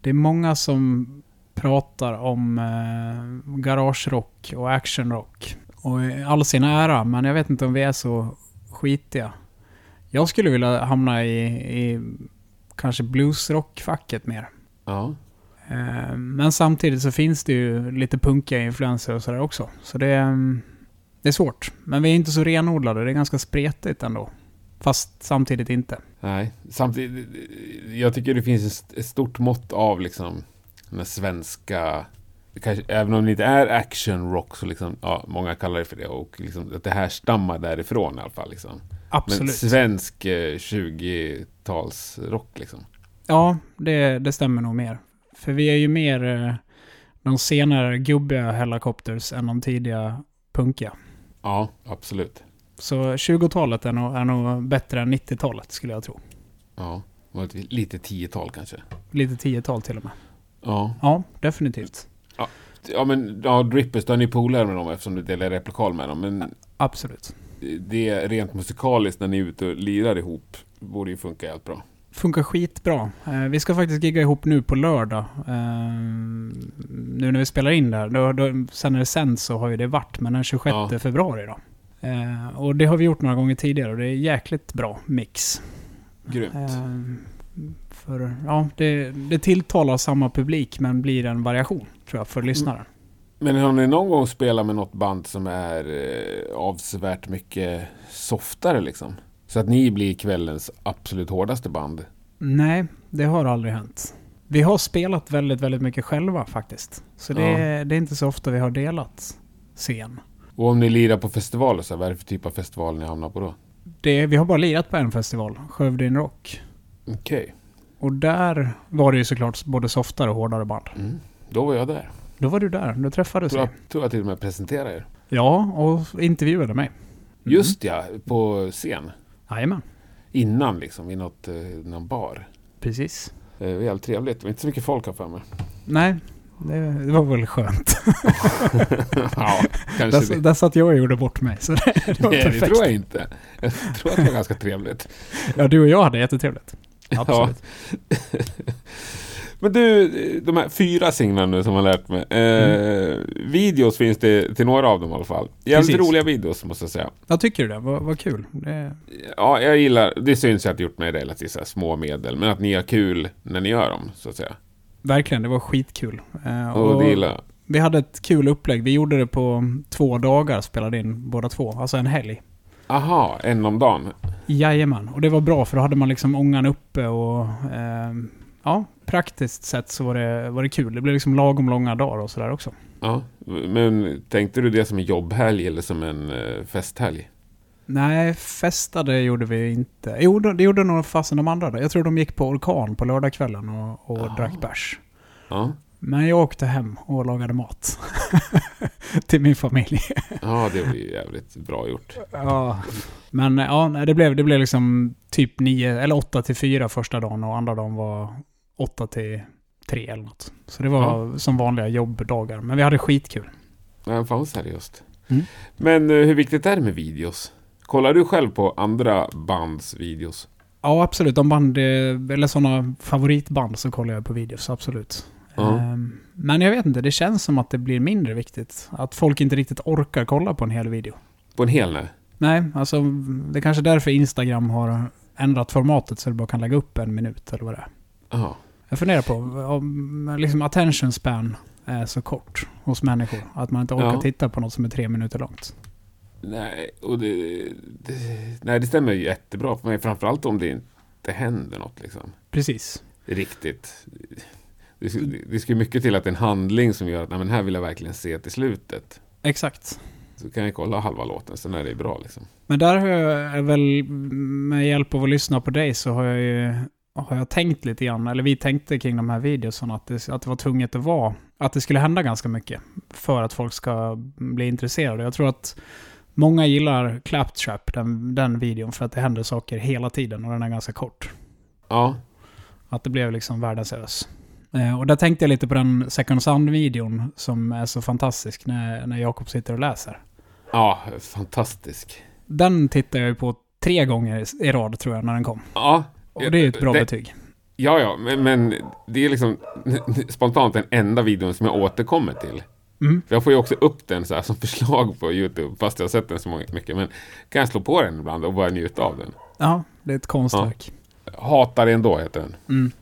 A: Det är många som pratar om eh, garagerock och actionrock. Och i all sin ära, men jag vet inte om vi är så skitiga. Jag skulle vilja hamna i, i kanske bluesrockfacket mer.
B: ja.
A: Ehm, men samtidigt så finns det ju lite punkiga influenser och sådär också. Så det, ehm, det är svårt. Men vi är inte så renodlade, det är ganska spretigt ändå. Fast samtidigt inte.
B: Nej, samtidigt. Jag tycker det finns ett st- ett stort mått av liksom den här svenska, kanske, även om det inte är action rock så liksom, ja, många kallar det för det och liksom att det här stammar därifrån i alla fall liksom. Men
A: Absolut.
B: svensk eh, 20-talsrock liksom.
A: Ja, det, det stämmer nog mer. För vi är ju mer eh, de senare gubbiga Hellacopters än de tidiga punkiga.
B: Ja, absolut.
A: Så 20-talet är nog, är nog bättre än 90-talet skulle jag tro.
B: Ja, och lite 10-tal kanske.
A: Lite 10-tal till och med.
B: Ja,
A: Ja, definitivt.
B: ja men ja, Drippers, då är ni polare med dem eftersom du delar replokal med dem. Men
A: Absolut.
B: det rent musikaliskt när ni är ute och lirar ihop borde ju funka helt bra.
A: Funkar skitbra. Eh, vi ska faktiskt gigga ihop nu på lördag. Eh, nu när vi spelar in där. Då, då, sen när det sänds så har ju det varit, men den 26
B: Ja.
A: februari då. Eh, och det har vi gjort några gånger tidigare och det är jäkligt bra mix.
B: Grymt.
A: Ehm, För, ja, det, det tilltalar samma publik men blir en variation tror jag för lyssnaren.
B: Men har ni någon gång spelat med något band som är eh, avsevärt mycket softare liksom? Så att ni blir kvällens absolut hårdaste band?
A: Nej, det har aldrig hänt. Vi har spelat väldigt, väldigt mycket själva faktiskt. Så det, det är inte så ofta vi har delat scen.
B: Och om ni lirar på festivaler, så här, vad är det för typ av festival ni hamnar på då?
A: Det, vi har bara lirat på en festival, Skövde in Rock.
B: Okej,
A: Och där var det ju såklart både softare och hårdare band.
B: mm. då var jag där.
A: Då var du där, då träffades
B: Tror
A: vi.
B: jag, tror jag till och med presenterade er.
A: Ja, och intervjuade mig.
B: Just ja, på scen.
A: Jajamän.
B: innan liksom i något, eh, någon bar.
A: Precis.
B: Eh, Det var jävligt trevligt. Det var inte så mycket folk här för mig.
A: Nej, det, det var väl skönt.
B: ja, kanske
A: Där,
B: det.
A: där satt jag och gjorde bort mig. Så det, Alltså, det var
B: Nej, det
A: perfekt.
B: tror jag inte. Jag tror att det var ganska trevligt.
A: Ja, du och jag hade jättetrevligt. Absolut.
B: Men du, de här fyra singlarna nu som jag lärt mig. Eh, videos finns det till några av dem i alla fall. Jävligt
A: Precis.
B: roliga videos måste jag säga.
A: Jag tycker du det? Vad vad kul. Det,
B: Ja, jag gillar, det syns ju att jag gjort med relativt så här små medel, men att ni har kul när ni gör dem, så att säga.
A: verkligen, det var skitkul. Eh,
B: Och det gillar jag.
A: vi hade ett kul upplägg. Vi gjorde det på två dagar, spelade in båda två. Alltså en helg.
B: Aha, en om dagen.
A: Jajamän, och det var bra för då hade man liksom ångan uppe och... Eh, ja, praktiskt sett så var det, var det kul. Det blev liksom lagom långa dagar och sådär också.
B: Ja. Men tänkte du det som en jobbhelg eller som en eh, festhelg?
A: Nej, festade gjorde vi inte. Jo, de- det gjorde nog fasen de andra. där. Jag tror de gick på orkan på lördagskvällen och, och
B: Jaha.
A: drack bärs.
B: Ja,
A: Men jag åkte hem och lagade mat. Till min familj.
B: ja det var ju jävligt bra gjort.
A: Ja. Men eh, ja, nej, det blev, det blev liksom typ nio eller åtta till fyra första dagen och andra dagen var åtta till tre eller något. Så det var som vanliga jobbdagar. Men vi hade skitkul.
B: Nej, fan vad seriöst.
A: Mm.
B: Men eh, hur viktigt är det med videos? Kollar du själv på andra bands videos?
A: Ja, absolut. De band, eh, eller sådana favoritband så kollar jag på videos, absolut.
B: Ja.
A: Ehm, Men jag vet inte, det känns som att det blir mindre viktigt. Att folk inte riktigt orkar kolla på en hel video.
B: På en hel nu?
A: Nej, alltså det är kanske är därför Instagram har ändrat formatet så du bara kan lägga upp en minut eller vad det är.
B: Ja.
A: Jag funderar på om liksom attention span är så kort hos människor. Att man inte orkar
B: Ja.
A: titta på något som är tre minuter långt.
B: Nej, och det, det, nej, det stämmer ju jättebra för mig. Framförallt om det inte händer något liksom.
A: Precis.
B: Riktigt. Det, sk- det ska ju mycket till att det är en handling som gör att nej, men här vill jag verkligen se till slutet.
A: Exakt.
B: Så kan jag kolla halva låten, sen är det bra liksom.
A: Men där har jag är väl, med hjälp av att lyssna på dig så har jag ju har jag tänkt lite grann, eller vi tänkte kring de här videorna att det, att det var tvunget att vara, att det skulle hända ganska mycket för att folk ska bli intresserade. Jag tror att många gillar Claptrap, den, den videon, för att det händer saker hela tiden och den är ganska kort.
B: Ja,
A: Att det blev liksom världens ös. Eh, och där tänkte jag lite på den Second Sound-videon som är så fantastisk när, när Jakob sitter och läser.
B: ja fantastisk.
A: Den tittar jag ju på tre gånger i- i rad tror jag när den kom.
B: Ja,
A: Och det är ju ett bra
B: Det-
A: betyg.
B: ja, ja men, men det är liksom spontant den enda videon som jag återkommer till.
A: Mm.
B: För jag får ju också upp den så här som förslag på YouTube, fast jag har sett den så många- mycket. Men kan jag slå på den ibland och bara njuta av den.
A: Ja, det är ett konstverk.
B: Hatar det ändå heter den.
A: Mm.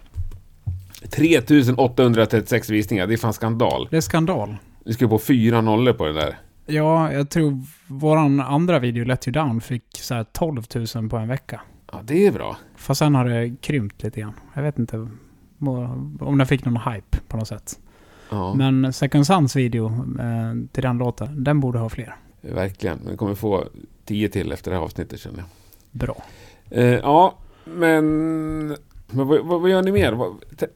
B: 3836 visningar, det är fan skandal.
A: Det är skandal.
B: Du ska ju på fyra nollor på den där.
A: Ja, jag tror våran andra video, Let You Down, fick så här 12 000 på en vecka.
B: Ja, det är bra.
A: Fast sen har det krympt lite grann. Jag vet inte vad- om den fick någon hype på något sätt.
B: Ja,
A: Men Second Suns video eh, till den låten, den borde ha fler.
B: verkligen. Vi kommer få tio till efter det här avsnittet känner jag.
A: Bra.
B: Eh, ja, men... Men vad, vad, vad gör ni mer? Vad, te-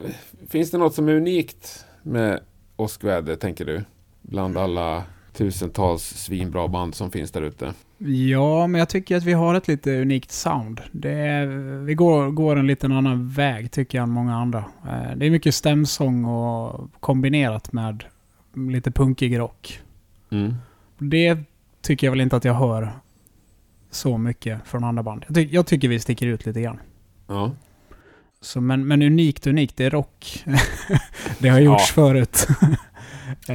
B: finns det något som är unikt med åskväder, tänker du? Bland alla tusentals svinbra band som finns där ute.
A: Ja, men jag tycker att vi har ett lite unikt sound. Det är, vi går, går en liten annan väg tycker jag än många andra. Eh, Det är mycket stämsång och kombinerat med lite punkig rock.
B: Mm.
A: Det tycker jag väl inte att jag hör så mycket från andra band. Jag, ty- jag tycker vi sticker ut lite grann.
B: Ja.
A: Så, men, men unikt, unikt, det är rock. det har gjorts förut. Eh,
B: Ja,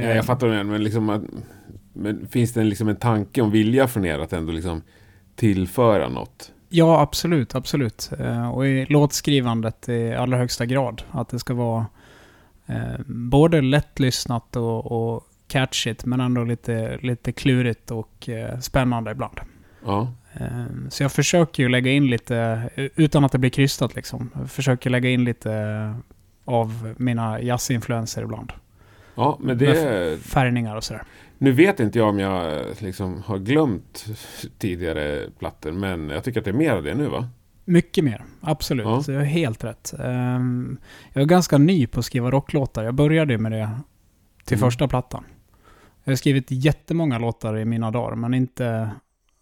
B: jag fattar det, men liksom att, Men finns det en, liksom en tanke om vilja från er att ändå liksom tillföra något?
A: Ja, absolut, absolut. Eh, Och i låtskrivandet i allra högsta grad. Att det ska vara eh, både lättlyssnat och, och catchigt, men ändå lite, lite klurigt och eh, spännande ibland.
B: Ja.
A: Eh, Så jag försöker ju lägga in lite, utan att det blir krystat liksom, jag försöker lägga in lite av mina jazzinfluenser ibland.
B: Ja, men det...
A: Färgningar och sådär.
B: Nu vet inte jag om jag eh, liksom har glömt tidigare plattor, men jag tycker att det är mer av det nu va?
A: Mycket mer, absolut.
B: Ja.
A: Så jag är helt rätt. Ehm, Jag är ganska ny på att skriva rocklåtar. Jag började ju med det till
B: Mm.
A: första plattan. Jag har skrivit jättemånga låtar i mina dagar, men inte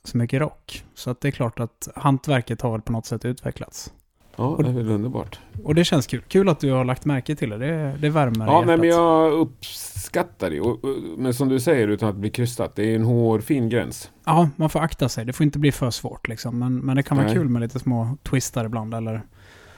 A: så mycket rock. Så att det är klart att hantverket har väl på något sätt utvecklats.
B: Ja, det är väl underbart.
A: Och det känns kul. Kul att du har lagt märke till det. Det, det värmer i
B: Ja, nej,
A: hjärtat.
B: men jag uppskattar det. Och, och- Men som du säger, utan att bli krystat, det är en hårfin gräns.
A: Ja, man får akta sig. Det får inte bli för svårt liksom. Men, men det kan vara
B: Nej.
A: kul med lite små twistar ibland eller...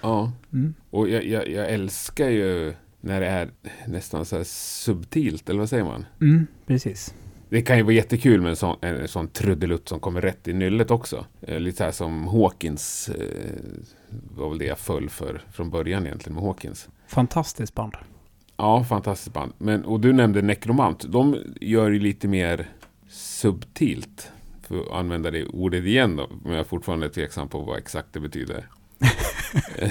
B: Ja.
A: Mm.
B: Och jag, jag, jag älskar ju när det är nästan så här subtilt, eller vad säger man?
A: Mm, precis.
B: Det kan ju vara jättekul med en sån, en sån trudelutt som kommer rätt i nyllet också. Eh, Lite så här som Hawkins, eh, var väl det jag föll för från början egentligen med Hawkins.
A: Fantastiskt band.
B: Ja, fantastiskt band. Men, och du nämnde Necromant. De gör ju lite mer subtilt. För att använda det ordet igen då. Men jag är fortfarande tveksam på vad exakt det betyder.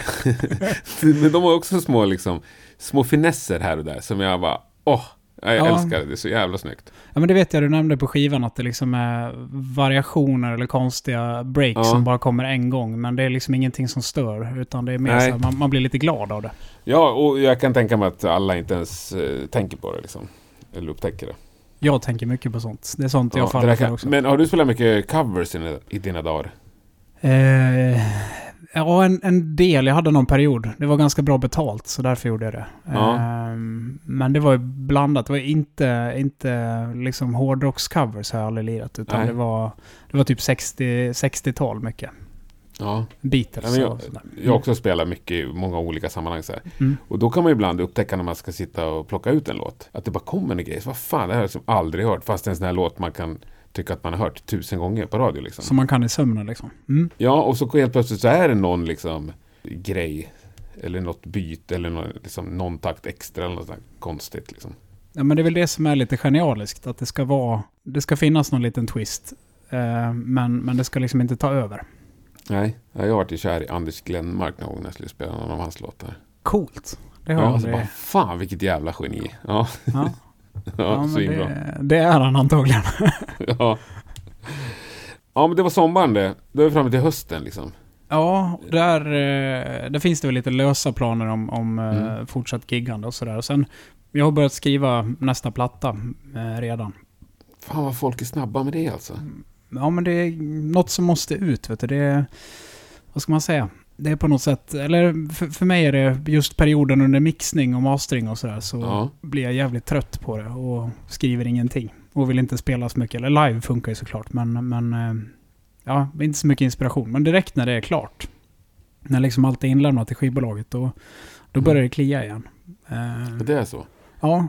B: men de har också små, liksom, små finesser här och där som jag bara, åh, jag
A: Ja.
B: älskar det. Det är så jävla snyggt.
A: Ja, men det vet jag. Du nämnde på skivan att det liksom är variationer eller konstiga breaks
B: Ja.
A: som bara kommer en gång. Men det är liksom ingenting som stör. Utan det är mer
B: Nej.
A: så här, man, man blir lite glad av det.
B: Ja, och jag kan tänka mig att alla inte ens eh, tänker på det liksom. Eller upptäcker det.
A: Jag tänker mycket på sånt. Det är sånt jag
B: det där
A: faller för
B: kan,
A: också.
B: men har du spelat mycket covers i, dina- i dina dagar?
A: Eh, ja, en, en del. Jag hade någon period. Det var ganska bra betalt, så därför gjorde jag det.
B: Ja.
A: Eh, men det var ju blandat. Det var inte, inte liksom hårdrockscovers har jag aldrig lirat. Utan
B: Nej.
A: det var, det var typ 60, 60-tal mycket.
B: Ja. Ja,
A: Beatles
B: men jag-
A: och sådär.
B: Jag har också spelat mycket i många olika sammanhang. Så här.
A: Mm.
B: Och då kan man ju ibland upptäcka när man ska sitta och plocka ut en låt. Att det bara kommer en grej. Så, Vad fan, det här har jag som aldrig hört. Fast det är en sån här låt man kan tycka att man har hört tusen gånger på radio. Liksom.
A: Som man kan i sömnen liksom. Mm.
B: Ja, och så helt plötsligt så är det någon liksom, grej. Eller något byte eller någon, liksom, någon takt extra eller något sånt här konstigt. Liksom.
A: Ja, men det är väl det som är lite genialiskt. Att det ska vara... Det ska finnas någon liten twist. Eh, men, men det ska liksom inte ta över.
B: Nej, jag har varit kär i Anders Glenmark någon gång när jag skulle spela någon av hans låtar.
A: Coolt. Det har
B: Ja, alltså,
A: jag
B: och så bara,
A: aldrig...
B: fan vilket jävla geni. Ja,
A: Ja.
B: ja,
A: Ja,
B: så
A: men
B: himla.
A: det, det är han antagligen.
B: Ja. ja, men det var sommaren det. Då är vi framme till hösten liksom.
A: Ja, där, eh, där finns det väl lite lösa planer om, om eh,
B: Mm.
A: fortsatt giggande och sådär. Och Sen, jag har börjat skriva nästa platta eh, redan.
B: Fan vad folk är snabba med det alltså.
A: Mm. Ja, men det är något som måste ut, vet du. Det är, vad ska man säga? Det är på något sätt, eller för, för mig är det just perioden under mixning och mastering och sådär, så
B: Ja.
A: blir jag jävligt trött på det och skriver ingenting. Och vill inte spela så mycket. Eller live funkar ju såklart, men, men eh, ja, inte så mycket inspiration. Men direkt när det är klart, när liksom allt är inlämnat till skivbolaget, då, då börjar det klia igen. Eh,
B: Men det är så.
A: Ja,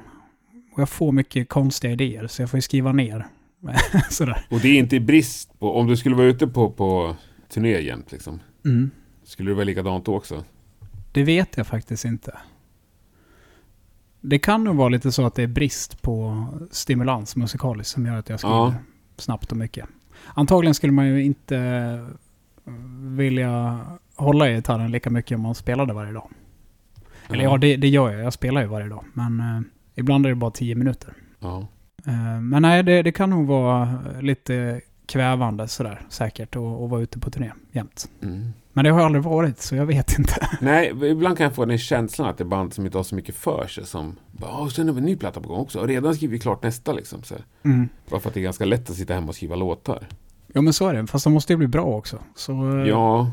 A: och jag får mycket konstiga idéer, så jag får ju skriva ner. Sådär.
B: Och det är inte i brist på, om du skulle vara ute på, på turné jämt liksom.
A: Mm.
B: Skulle det vara likadant då också?
A: Det vet jag faktiskt inte. Det kan nog vara lite så att det är brist på stimulans musikaliskt som gör att jag skriver
B: Ja.
A: snabbt och mycket. Antagligen skulle man ju inte eh, vilja hålla i gitarren lika mycket om man spelade varje dag. Eller ja, det, det gör jag. Jag spelar ju varje dag. Men eh, ibland är det bara tio minuter.
B: Ja.
A: Eh, men nej, det, det kan nog vara lite kvävande sådär säkert att att vara ute på turné jämt.
B: Mm.
A: Men det har jag aldrig varit, så jag vet inte.
B: Nej, ibland kan jag få den känslan att det är band som inte har så mycket för sig som bara, "Åh, sen har vi en ny platta på gång också. Och redan skriver vi klart nästa liksom. Så här.
A: Mm.
B: Bara för att det är ganska lätt att sitta hemma och skriva låtar.
A: Ja men så är det, fast de måste ju bli bra också. Så, eh,
B: Ja,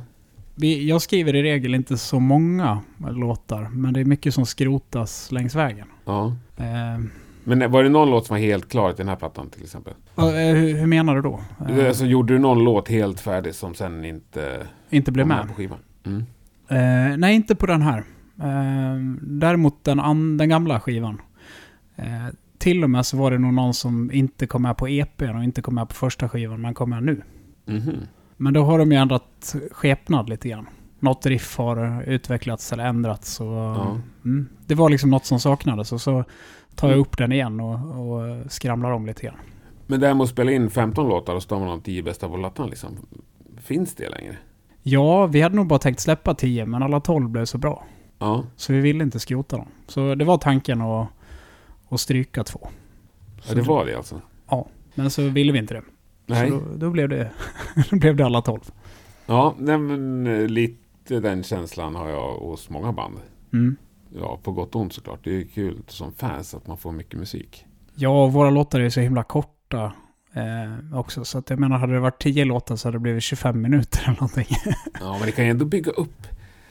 A: vi, jag skriver i regel inte så många låtar, men det är mycket som skrotas längs vägen.
B: ja.
A: Eh,
B: Men var det någon låt som var helt klar till den här plattan till exempel?
A: vad- eh, hur, hur menar du då? Eh,
B: Alltså gjorde du någon låt helt färdig som sen inte
A: inte blev
B: kom
A: med?
B: på skivan? Mm.
A: Eh, nej, inte på den här. Eh, däremot den, an, den gamla skivan. Eh, till och med så var det nog någon som inte kom med på EPn och inte kom med på första skivan, men kom med nu.
B: Mhm.
A: Men då har de ju ändrat skepnad lite grann. Något riff har utvecklats eller ändrats. Och,
B: Ja. Mm.
A: mm, det var liksom något som saknades och så tar jag upp den igen och, och skramlar om lite grann.
B: Men det här med att spela in 15 låtar och så tar man de 10 bästa på plattan liksom. Finns det längre?
A: Ja, vi hade nog bara tänkt släppa 10 men alla 12 blev så bra.
B: Ja.
A: Så vi ville inte skrota dem. Så det var tanken att, att stryka två.
B: ja, det var det alltså.
A: Men så ville vi inte det.
B: Nej.
A: Så då, då, blev det, då blev det alla 12.
B: Ja, nej, men eh, lite den känslan har jag hos många band.
A: Mm.
B: Ja, på gott och ont såklart. Det är ju kul som fans att man får mycket musik.
A: Ja, och våra låtar är ju så himla korta. Eh, också. Så att jag menar, hade det varit 10 låtar så hade det blivit 25 minuter eller någonting.
B: Ja, men det kan ju ändå bygga upp.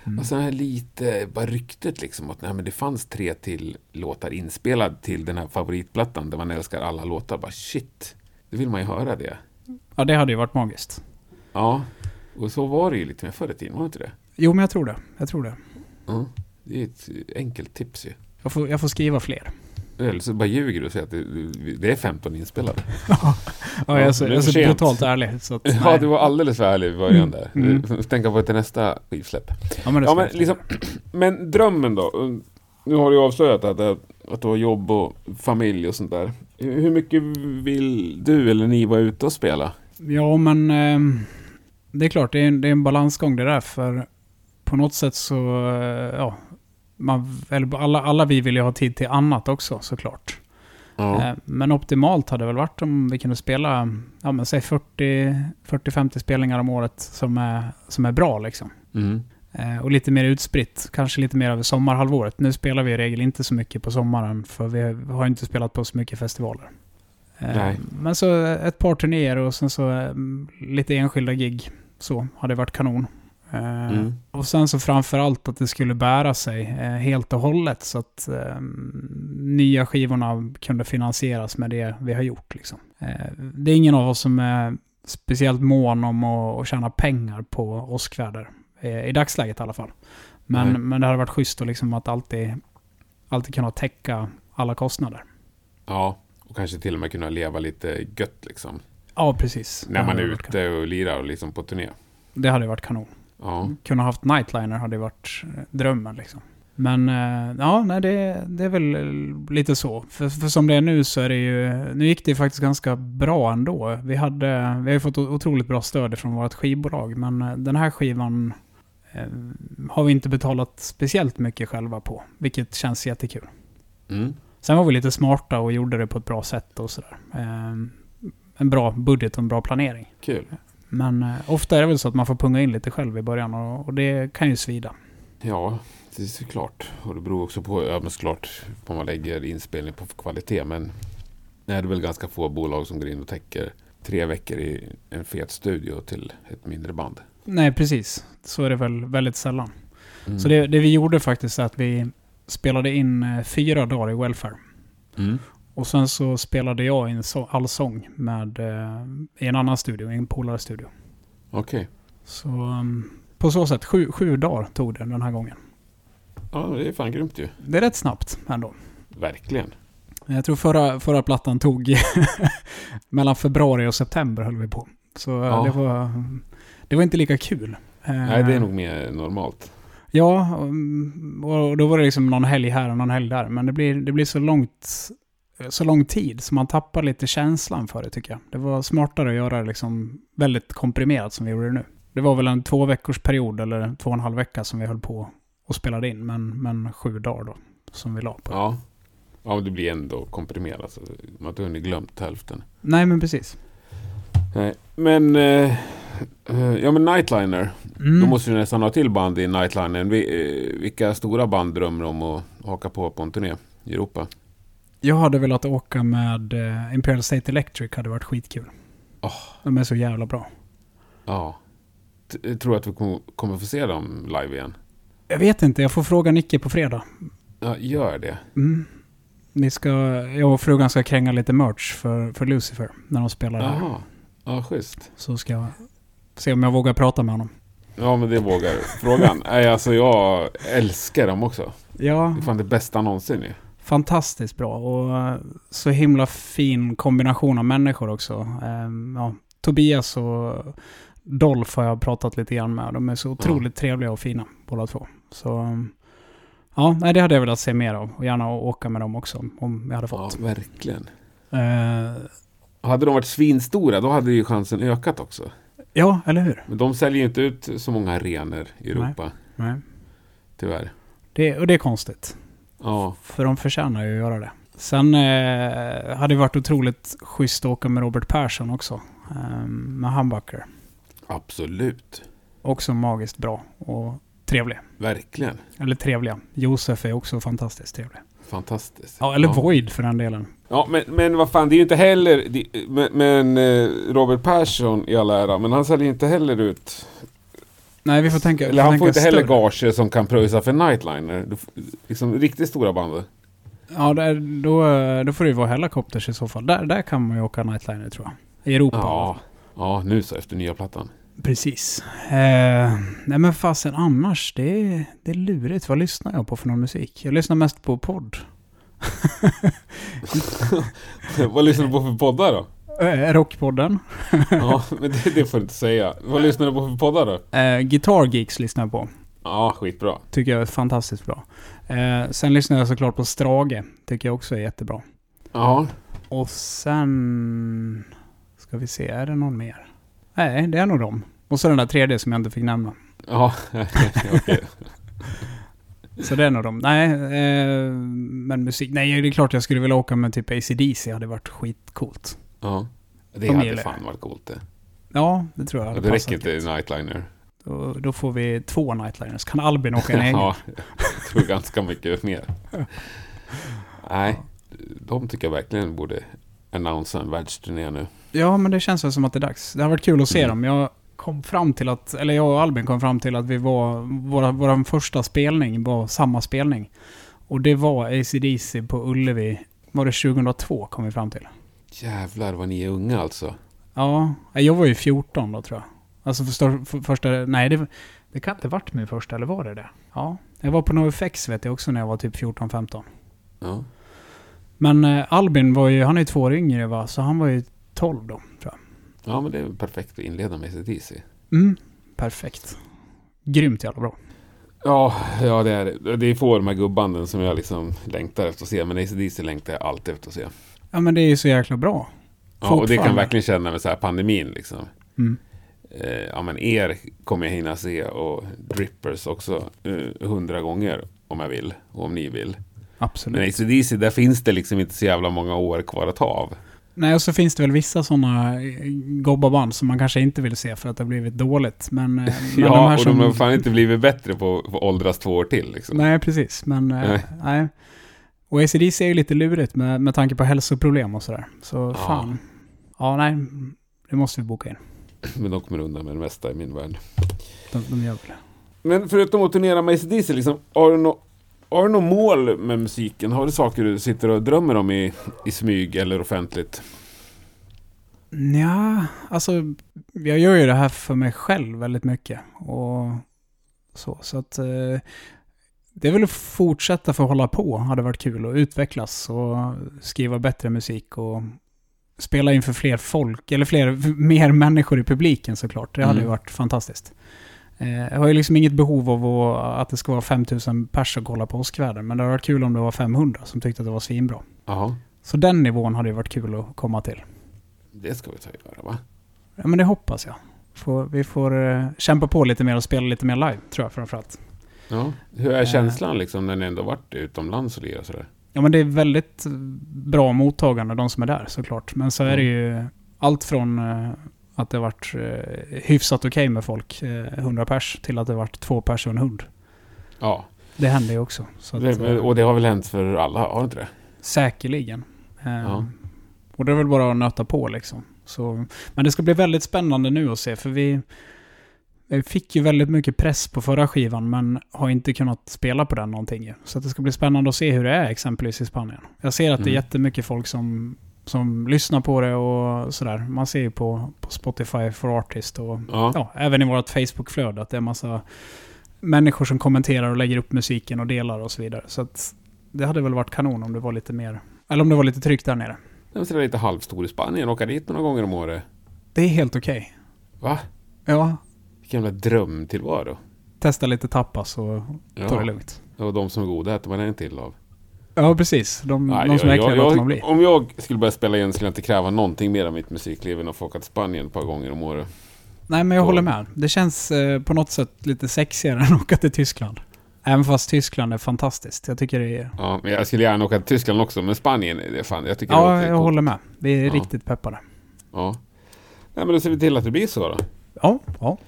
A: Mm.
B: Och sen här lite, bara ryktet liksom att nej, men det fanns tre till låtar inspelad till den här favoritplattan där man älskar alla låtar. Bara shit, då vill man ju höra det.
A: Ja, det hade ju varit magiskt.
B: Ja, och så var det ju lite mer förr i tiden, var det inte det?
A: Jo, men jag tror det. Jag tror det.
B: Ja. Det är ett enkelt tips ju.
A: Jag får, jag får skriva fler.
B: Eller så bara ljuger du och säger att det, det är 15 inspelade.
A: Ja, jag är så,
B: det är
A: jag är
B: för
A: så
B: sent.
A: brutalt ärlig. Så att,
B: Ja,
A: nej.
B: du var alldeles för ärlig i början där.
A: Mm.
B: Du får tänka på det till nästa skivsläpp.
A: ja, men, det
B: Ja,
A: ska
B: men,
A: jag skriva.
B: liksom, men drömmen då? Nu har du ju avslöjat att, att du har jobb och familj och sånt där. Hur hur mycket vill du eller ni vara ute och spela?
A: Ja, men ehm, det är klart, det är, en- det är en balansgång det där. För på något sätt så, eh, ja, man, eller alla, alla vi vill ju ha tid till annat också såklart.
B: Ja.
A: Eh, Men optimalt hade det väl varit om vi kunde spela, ja men säg 40 40-50 spelningar om året som är, som är bra liksom.
B: Mm.
A: Eh, Och lite mer utspritt, kanske lite mer över sommarhalvåret. Nu spelar vi i regel inte så mycket på sommaren för vi har inte spelat på så mycket festivaler. Eh,
B: Nej.
A: Men så eh, ett par turnéer och sen så eh, lite enskilda gig. Så hade det varit kanon. Eh,
B: Mm.
A: Och sen så framför allt att det skulle bära sig eh, helt och hållet så att eh, nya skivorna kunde finansieras med det vi har gjort. Liksom. Eh, det är ingen av oss som är speciellt mån om att, att tjäna pengar på åskväder. Eh, I dagsläget i alla fall.
B: Nej.
A: Men, men det hade varit schysst att, liksom att alltid, alltid kunna täcka alla kostnader.
B: ja, och kanske till och med kunna leva lite gött liksom.
A: Ja, precis.
B: När
A: Det
B: man
A: hade
B: är
A: varit
B: ute och lirar och liksom på turné.
A: kanon. Det hade ju varit kanon.
B: Ja.
A: Kunna haft nightliner hade ju varit eh, drömmen liksom. Men eh, ja, nej, det, det är väl eh, lite så. För, för som det är nu så är det ju... Nu gick det ju faktiskt ganska bra ändå. Vi, hade, vi har ju fått o- otroligt bra stöd från vårt skivbolag, men eh, den här skivan eh, har vi inte betalat speciellt mycket själva på, vilket känns jättekul.
B: Mm.
A: Sen var vi lite smarta och gjorde det på ett bra sätt och sådär. Eh, En bra budget och en bra planering.
B: Kul.
A: Men eh, ofta är det väl så att man får punga in lite själv i början och, och det kan ju svida.
B: Ja, det är såklart. Och det beror också på, ja men såklart, på vad man lägger inspelning på för kvalitet. Men det är väl ganska få bolag som går in och täcker tre veckor i en fet studio till ett mindre band.
A: Nej, precis. Så är det väl väldigt sällan.
B: Mm.
A: Så det, det vi gjorde faktiskt är att vi spelade in eh, fyra dagar i Welfare.
B: Mm.
A: Och sen så spelade jag in så, all sång med, eh, i en annan studio, i en polare studio.
B: Okej.
A: Så um, på så sätt, sju, sju dagar tog det den här gången.
B: Ja, det är fan grymt ju.
A: Det är rätt snabbt ändå.
B: Verkligen.
A: Jag tror förra, förra plattan tog mellan februari och september höll vi på. Så eh,
B: Ja.
A: det, var, det var inte lika kul. Eh,
B: Nej, det är nog mer normalt.
A: Ja, mm, och då var det liksom någon helg här och någon helg där. Men det blir, det blir så, långt, så lång tid så man tappar lite känslan för det tycker jag. Det var smartare att göra det liksom väldigt komprimerat som vi gjorde det nu. Det var väl en två veckors period eller två och en halv vecka som vi höll på och spelade in. Men, men sju dagar då som vi la på.
B: Ja. Ja, men det blir ändå komprimerat. Så man har inte hunnit glömt hälften.
A: Nej, men precis.
B: Nej. Men, eh, eh, ja men Nightliner.
A: Mm.
B: Då måste du nästan ha till band i Nightliner. Vi, eh, vilka stora band drömmer om att haka på på en turné i Europa?
A: Jag hade velat åka med eh, Imperial State Electric, hade varit skitkul.
B: Åh.
A: De är så jävla bra.
B: Ja. T- Jag tror att vi kom- kommer få se dem live igen.
A: Jag vet inte, jag får fråga Nicke på fredag.
B: Ja, gör det.
A: Mm. Ni ska, jag och frugan ska kränga lite merch för, för Lucifer när de spelar här.
B: Jaha. Ja, schysst.
A: Så ska jag se om jag vågar prata med honom.
B: Ja, men det vågar du. Frågan är alltså, jag älskar dem också.
A: Ja,
B: Det är fan det bästa någonsin ju.
A: fantastiskt bra och eh, så himla fin kombination av människor också. Ehm, ja, Tobias och Dolph har jag pratat lite grann med. De är så otroligt trevliga och fina båda två. Så ehm, ja, nej, det hade jag velat se mer av och gärna åka med dem också om jag hade
B: Ja,
A: fått.
B: verkligen.
A: Eh,
B: Hade de varit svinstora, då hade ju chansen ökat också.
A: ja eller hur?
B: Men de säljer ju inte ut så många arenor i Europa,
A: Nej.
B: tyvärr.
A: Det, och det är konstigt.
B: Ja,
A: För de förtjänar ju att göra det. Sen eh, hade det varit otroligt schysst att åka med Robert Persson också. Eh, med Humbucker.
B: absolut.
A: Också magiskt bra och trevlig.
B: Verkligen.
A: Eller trevliga. Josef är också fantastiskt trevlig.
B: Fantastiskt.
A: Ja, eller Void för den delen.
B: Ja, men, men vad fan, det är ju inte heller... Det, men, men eh, Robert Persson i all ära, men han säljer inte heller ut...
A: Nej, vi får tänka
B: Eller han
A: tänka
B: får inte heller
A: större.
B: gager som kan pröjsa för nightliner. Du, f- liksom riktigt stora band.
A: Ja, där, då, eh, då får det ju vara helikopters i så fall. Där, där kan man ju åka nightliner tror jag. I Europa. alltså.
B: Ja. ja, nu så efter nya plattan.
A: Precis. Eh, nej men fasen annars, det är, det är lurigt. Vad lyssnar jag på för någon musik? Jag lyssnar mest på podd.
B: vad lyssnar du på för poddar då?
A: Eh, rockpodden.
B: Ja, men det, det får du inte säga. Vad lyssnar du på för poddar då?
A: Eh, Guitar Geeks lyssnar jag på.
B: Ja, skitbra.
A: Tycker jag är fantastiskt bra. Eh, sen lyssnar jag såklart på Strage. Tycker jag också är jättebra.
B: Ja,
A: Och sen... Ska vi se, är det någon mer? Nej, det är nog dem. Och så den där tredje som jag inte fick nämna.
B: ja, okej.
A: Så det är nog dem. Nej, eh, men musik. Nej, det är klart jag skulle vilja åka med typ ACDC. Det hade varit skitcoolt.
B: Ja. Det
A: De
B: hade
A: gillar
B: fan varit coolt det.
A: Ja, det tror jag hade
B: Det
A: passat
B: räcker
A: gött.
B: inte i nightliner.
A: Då, då får vi två nightliners. Kan Albin åka en egen?
B: Ja, jag tror ganska mycket mer. Nej, de tycker jag verkligen borde annonsera en världsturné nu.
A: Ja, men det känns väl som att det är dags. Det har varit kul att se
B: Mm.
A: dem. Jag kom fram till att, eller jag och Albin kom fram till att vi var, våra, vår första spelning var samma spelning. Och det var ACDC på Ullevi, var det 2002 kom vi fram till.
B: Jävlar vad ni är unga alltså.
A: Ja, jag var ju 14 då tror jag. Alltså förstår, för, första, nej det, det kan inte varit min första, eller var det det? Ja. Jag var på NoFX vet jag också när jag var typ 14-15.
B: Ja.
A: Men eh, Albin var ju, han är ju två år yngre va, så han var ju 12 då tror jag.
B: ja, men det är väl perfekt att inleda med ACDC.
A: Mm, perfekt. Grymt jävla bra.
B: Ja, ja det är det. Det är få av de här gubbanden som jag liksom längtar efter att se. Men ACDC längtar jag alltid efter att se.
A: Ja men det är ju så jäkla bra.
B: Ja, och det kan jag
A: Fortfarande.
B: verkligen känna med så här pandemin liksom.
A: Mm.
B: Eh, ja, men er kommer jag hinna se och Drippers också eh, hundra gånger om jag vill och om ni vill.
A: Absolut.
B: Men
A: Nej.
B: ACDC, där finns det liksom inte så jävla många år kvar att ta av.
A: och så finns det väl vissa sådana gobbaband som man kanske inte vill se för att det har blivit dåligt. Men, eh, men
B: ja,
A: de här
B: och
A: som...
B: de har fan inte blivit bättre på på att åldras två år till liksom.
A: Nej, precis. Men eh,
B: Nej.
A: nej. Och ACDC är ju lite lurigt med, med tanke på hälsoproblem och sådär. Så
B: Ja.
A: fan. Ja, nej. Det måste vi boka in.
B: Men de kommer undan med det mesta i min värld.
A: De, de gör väl det.
B: Men förutom att turnera med ACDC, liksom, har du nå- har du något mål med musiken? Har du saker du sitter och drömmer om i, i smyg eller offentligt?
A: Ja, alltså jag gör ju det här för mig själv väldigt mycket. Och så, så att eh, det är väl att fortsätta få hålla på hade varit kul och utvecklas och skriva bättre musik och spela inför fler folk, eller fler, mer människor i publiken såklart. Det hade
B: Mm.
A: ju varit fantastiskt. Eh, jag har ju liksom inget behov av att, att det ska vara 5000 pers som kollar på Åskväden, men det hade varit kul om det var 500 som tyckte att det var svinbra.
B: Ja,
A: Så den nivån hade ju varit kul att komma till.
B: det ska vi ta och göra va?
A: Ja, men det hoppas jag. Får, vi får eh, kämpa på lite mer och spela lite mer live, tror jag framförallt.
B: Ja. Hur är
A: Eh.
B: känslan liksom när ni ändå varit utomlands och lirat och sådär?
A: Ja, men det är väldigt eh, bra mottagande, de som är där såklart. Men så är det ju allt från eh, att det har varit eh, hyfsat okej med folk, eh, 100 pers, till att det har varit två pers och en hund.
B: Ja,
A: Det händer ju också. Så att,
B: det, men-
A: eh,
B: och det har väl hänt för alla, har det inte det?
A: Säkerligen. Eh,
B: Ja.
A: Och det är väl bara att nöta på liksom. Så, men det ska bli väldigt spännande nu att se, för vi, vi fick ju väldigt mycket press på förra skivan, men har inte kunnat spela på den någonting ju. Så att det ska bli spännande att se hur det är exempelvis i Spanien. Jag ser att det är
B: Mm.
A: jättemycket folk som, som lyssnar på det och sådär. Man ser ju på, på Spotify for Artist och
B: Ja.
A: ja, även i vårt Facebook-flöde att det är massa människor som kommenterar och lägger upp musiken och delar och så vidare. Så att det hade väl varit kanon om det var lite mer, eller om det var lite tryck där nere.
B: Den är lite halvstor i Spanien, åka dit några gånger om året.
A: Det är helt okej.
B: Va?
A: Ja,
B: Vilken jävla drömtillvaro.
A: testa lite tapas och ta det
B: Ja.
A: lugnt.
B: Och de som är goda äter man en till av.
A: Ja, precis. De, Mm, de som är äckliga låter man bli.
B: om jag skulle börja spela igen skulle jag inte kräva någonting mer av mitt musikliv än att få åka till Spanien ett par gånger om året.
A: Nej, men jag
B: då-
A: håller med. Det känns eh, på något sätt lite sexigare än att åka till Tyskland. Även fast Tyskland är fantastiskt. Jag tycker det är...
B: Ja, men jag skulle gärna åka till Tyskland också, men Spanien, det är fan, jag tycker det
A: Ja,
B: låter
A: jag
B: coolt.
A: håller med. Vi är
B: Ja.
A: riktigt peppade.
B: Ja. Nej, men då ser vi till att det blir så då.
A: Ja, ja.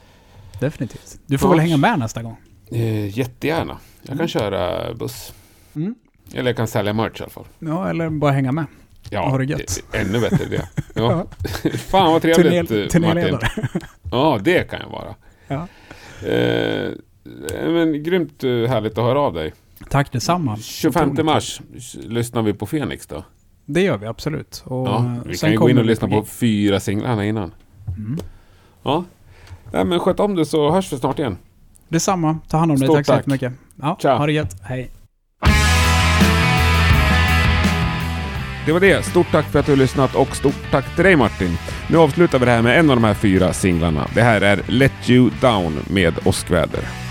A: Definitivt. Du får
B: Ja.
A: väl hänga med nästa gång.
B: Eh, jättegärna. Jag kan
A: Mm.
B: köra buss.
A: Mm.
B: Eller jag kan sälja merch i alla fall.
A: Ja, eller bara hänga med.
B: Ja,
A: Har det gött.
B: ä- Ännu bättre det. Ja. Fan vad trevligt
A: Turné-
B: eh, Martin.
A: Turnéledare.
B: Ja, det kan jag vara.
A: Ja.
B: Eh, men grymt eh, härligt att höra av dig.
A: Tack detsamma.
B: 25
A: Otroligt.
B: mars s- lyssnar vi på Fenix då.
A: Det gör vi absolut. Och
B: Ja, eh, vi
A: sen
B: kan ju gå
A: kommer
B: in och
A: vi
B: lyssna på
A: gig.
B: fyra singlarna innan.
A: Mm.
B: Ja. Nej, men sköt om det så hörs vi snart igen.
A: Detsamma. Ta hand om dig.
B: Stort
A: Tack så
B: tack.
A: jättemycket. Ja,
B: Tja.
A: ha det gött. Hej.
B: Det var det. Stort tack för att du har lyssnat och stort tack till dig Martin. Nu avslutar vi det här med en av de här fyra singlarna. Det här är Let You Down med Åskväder.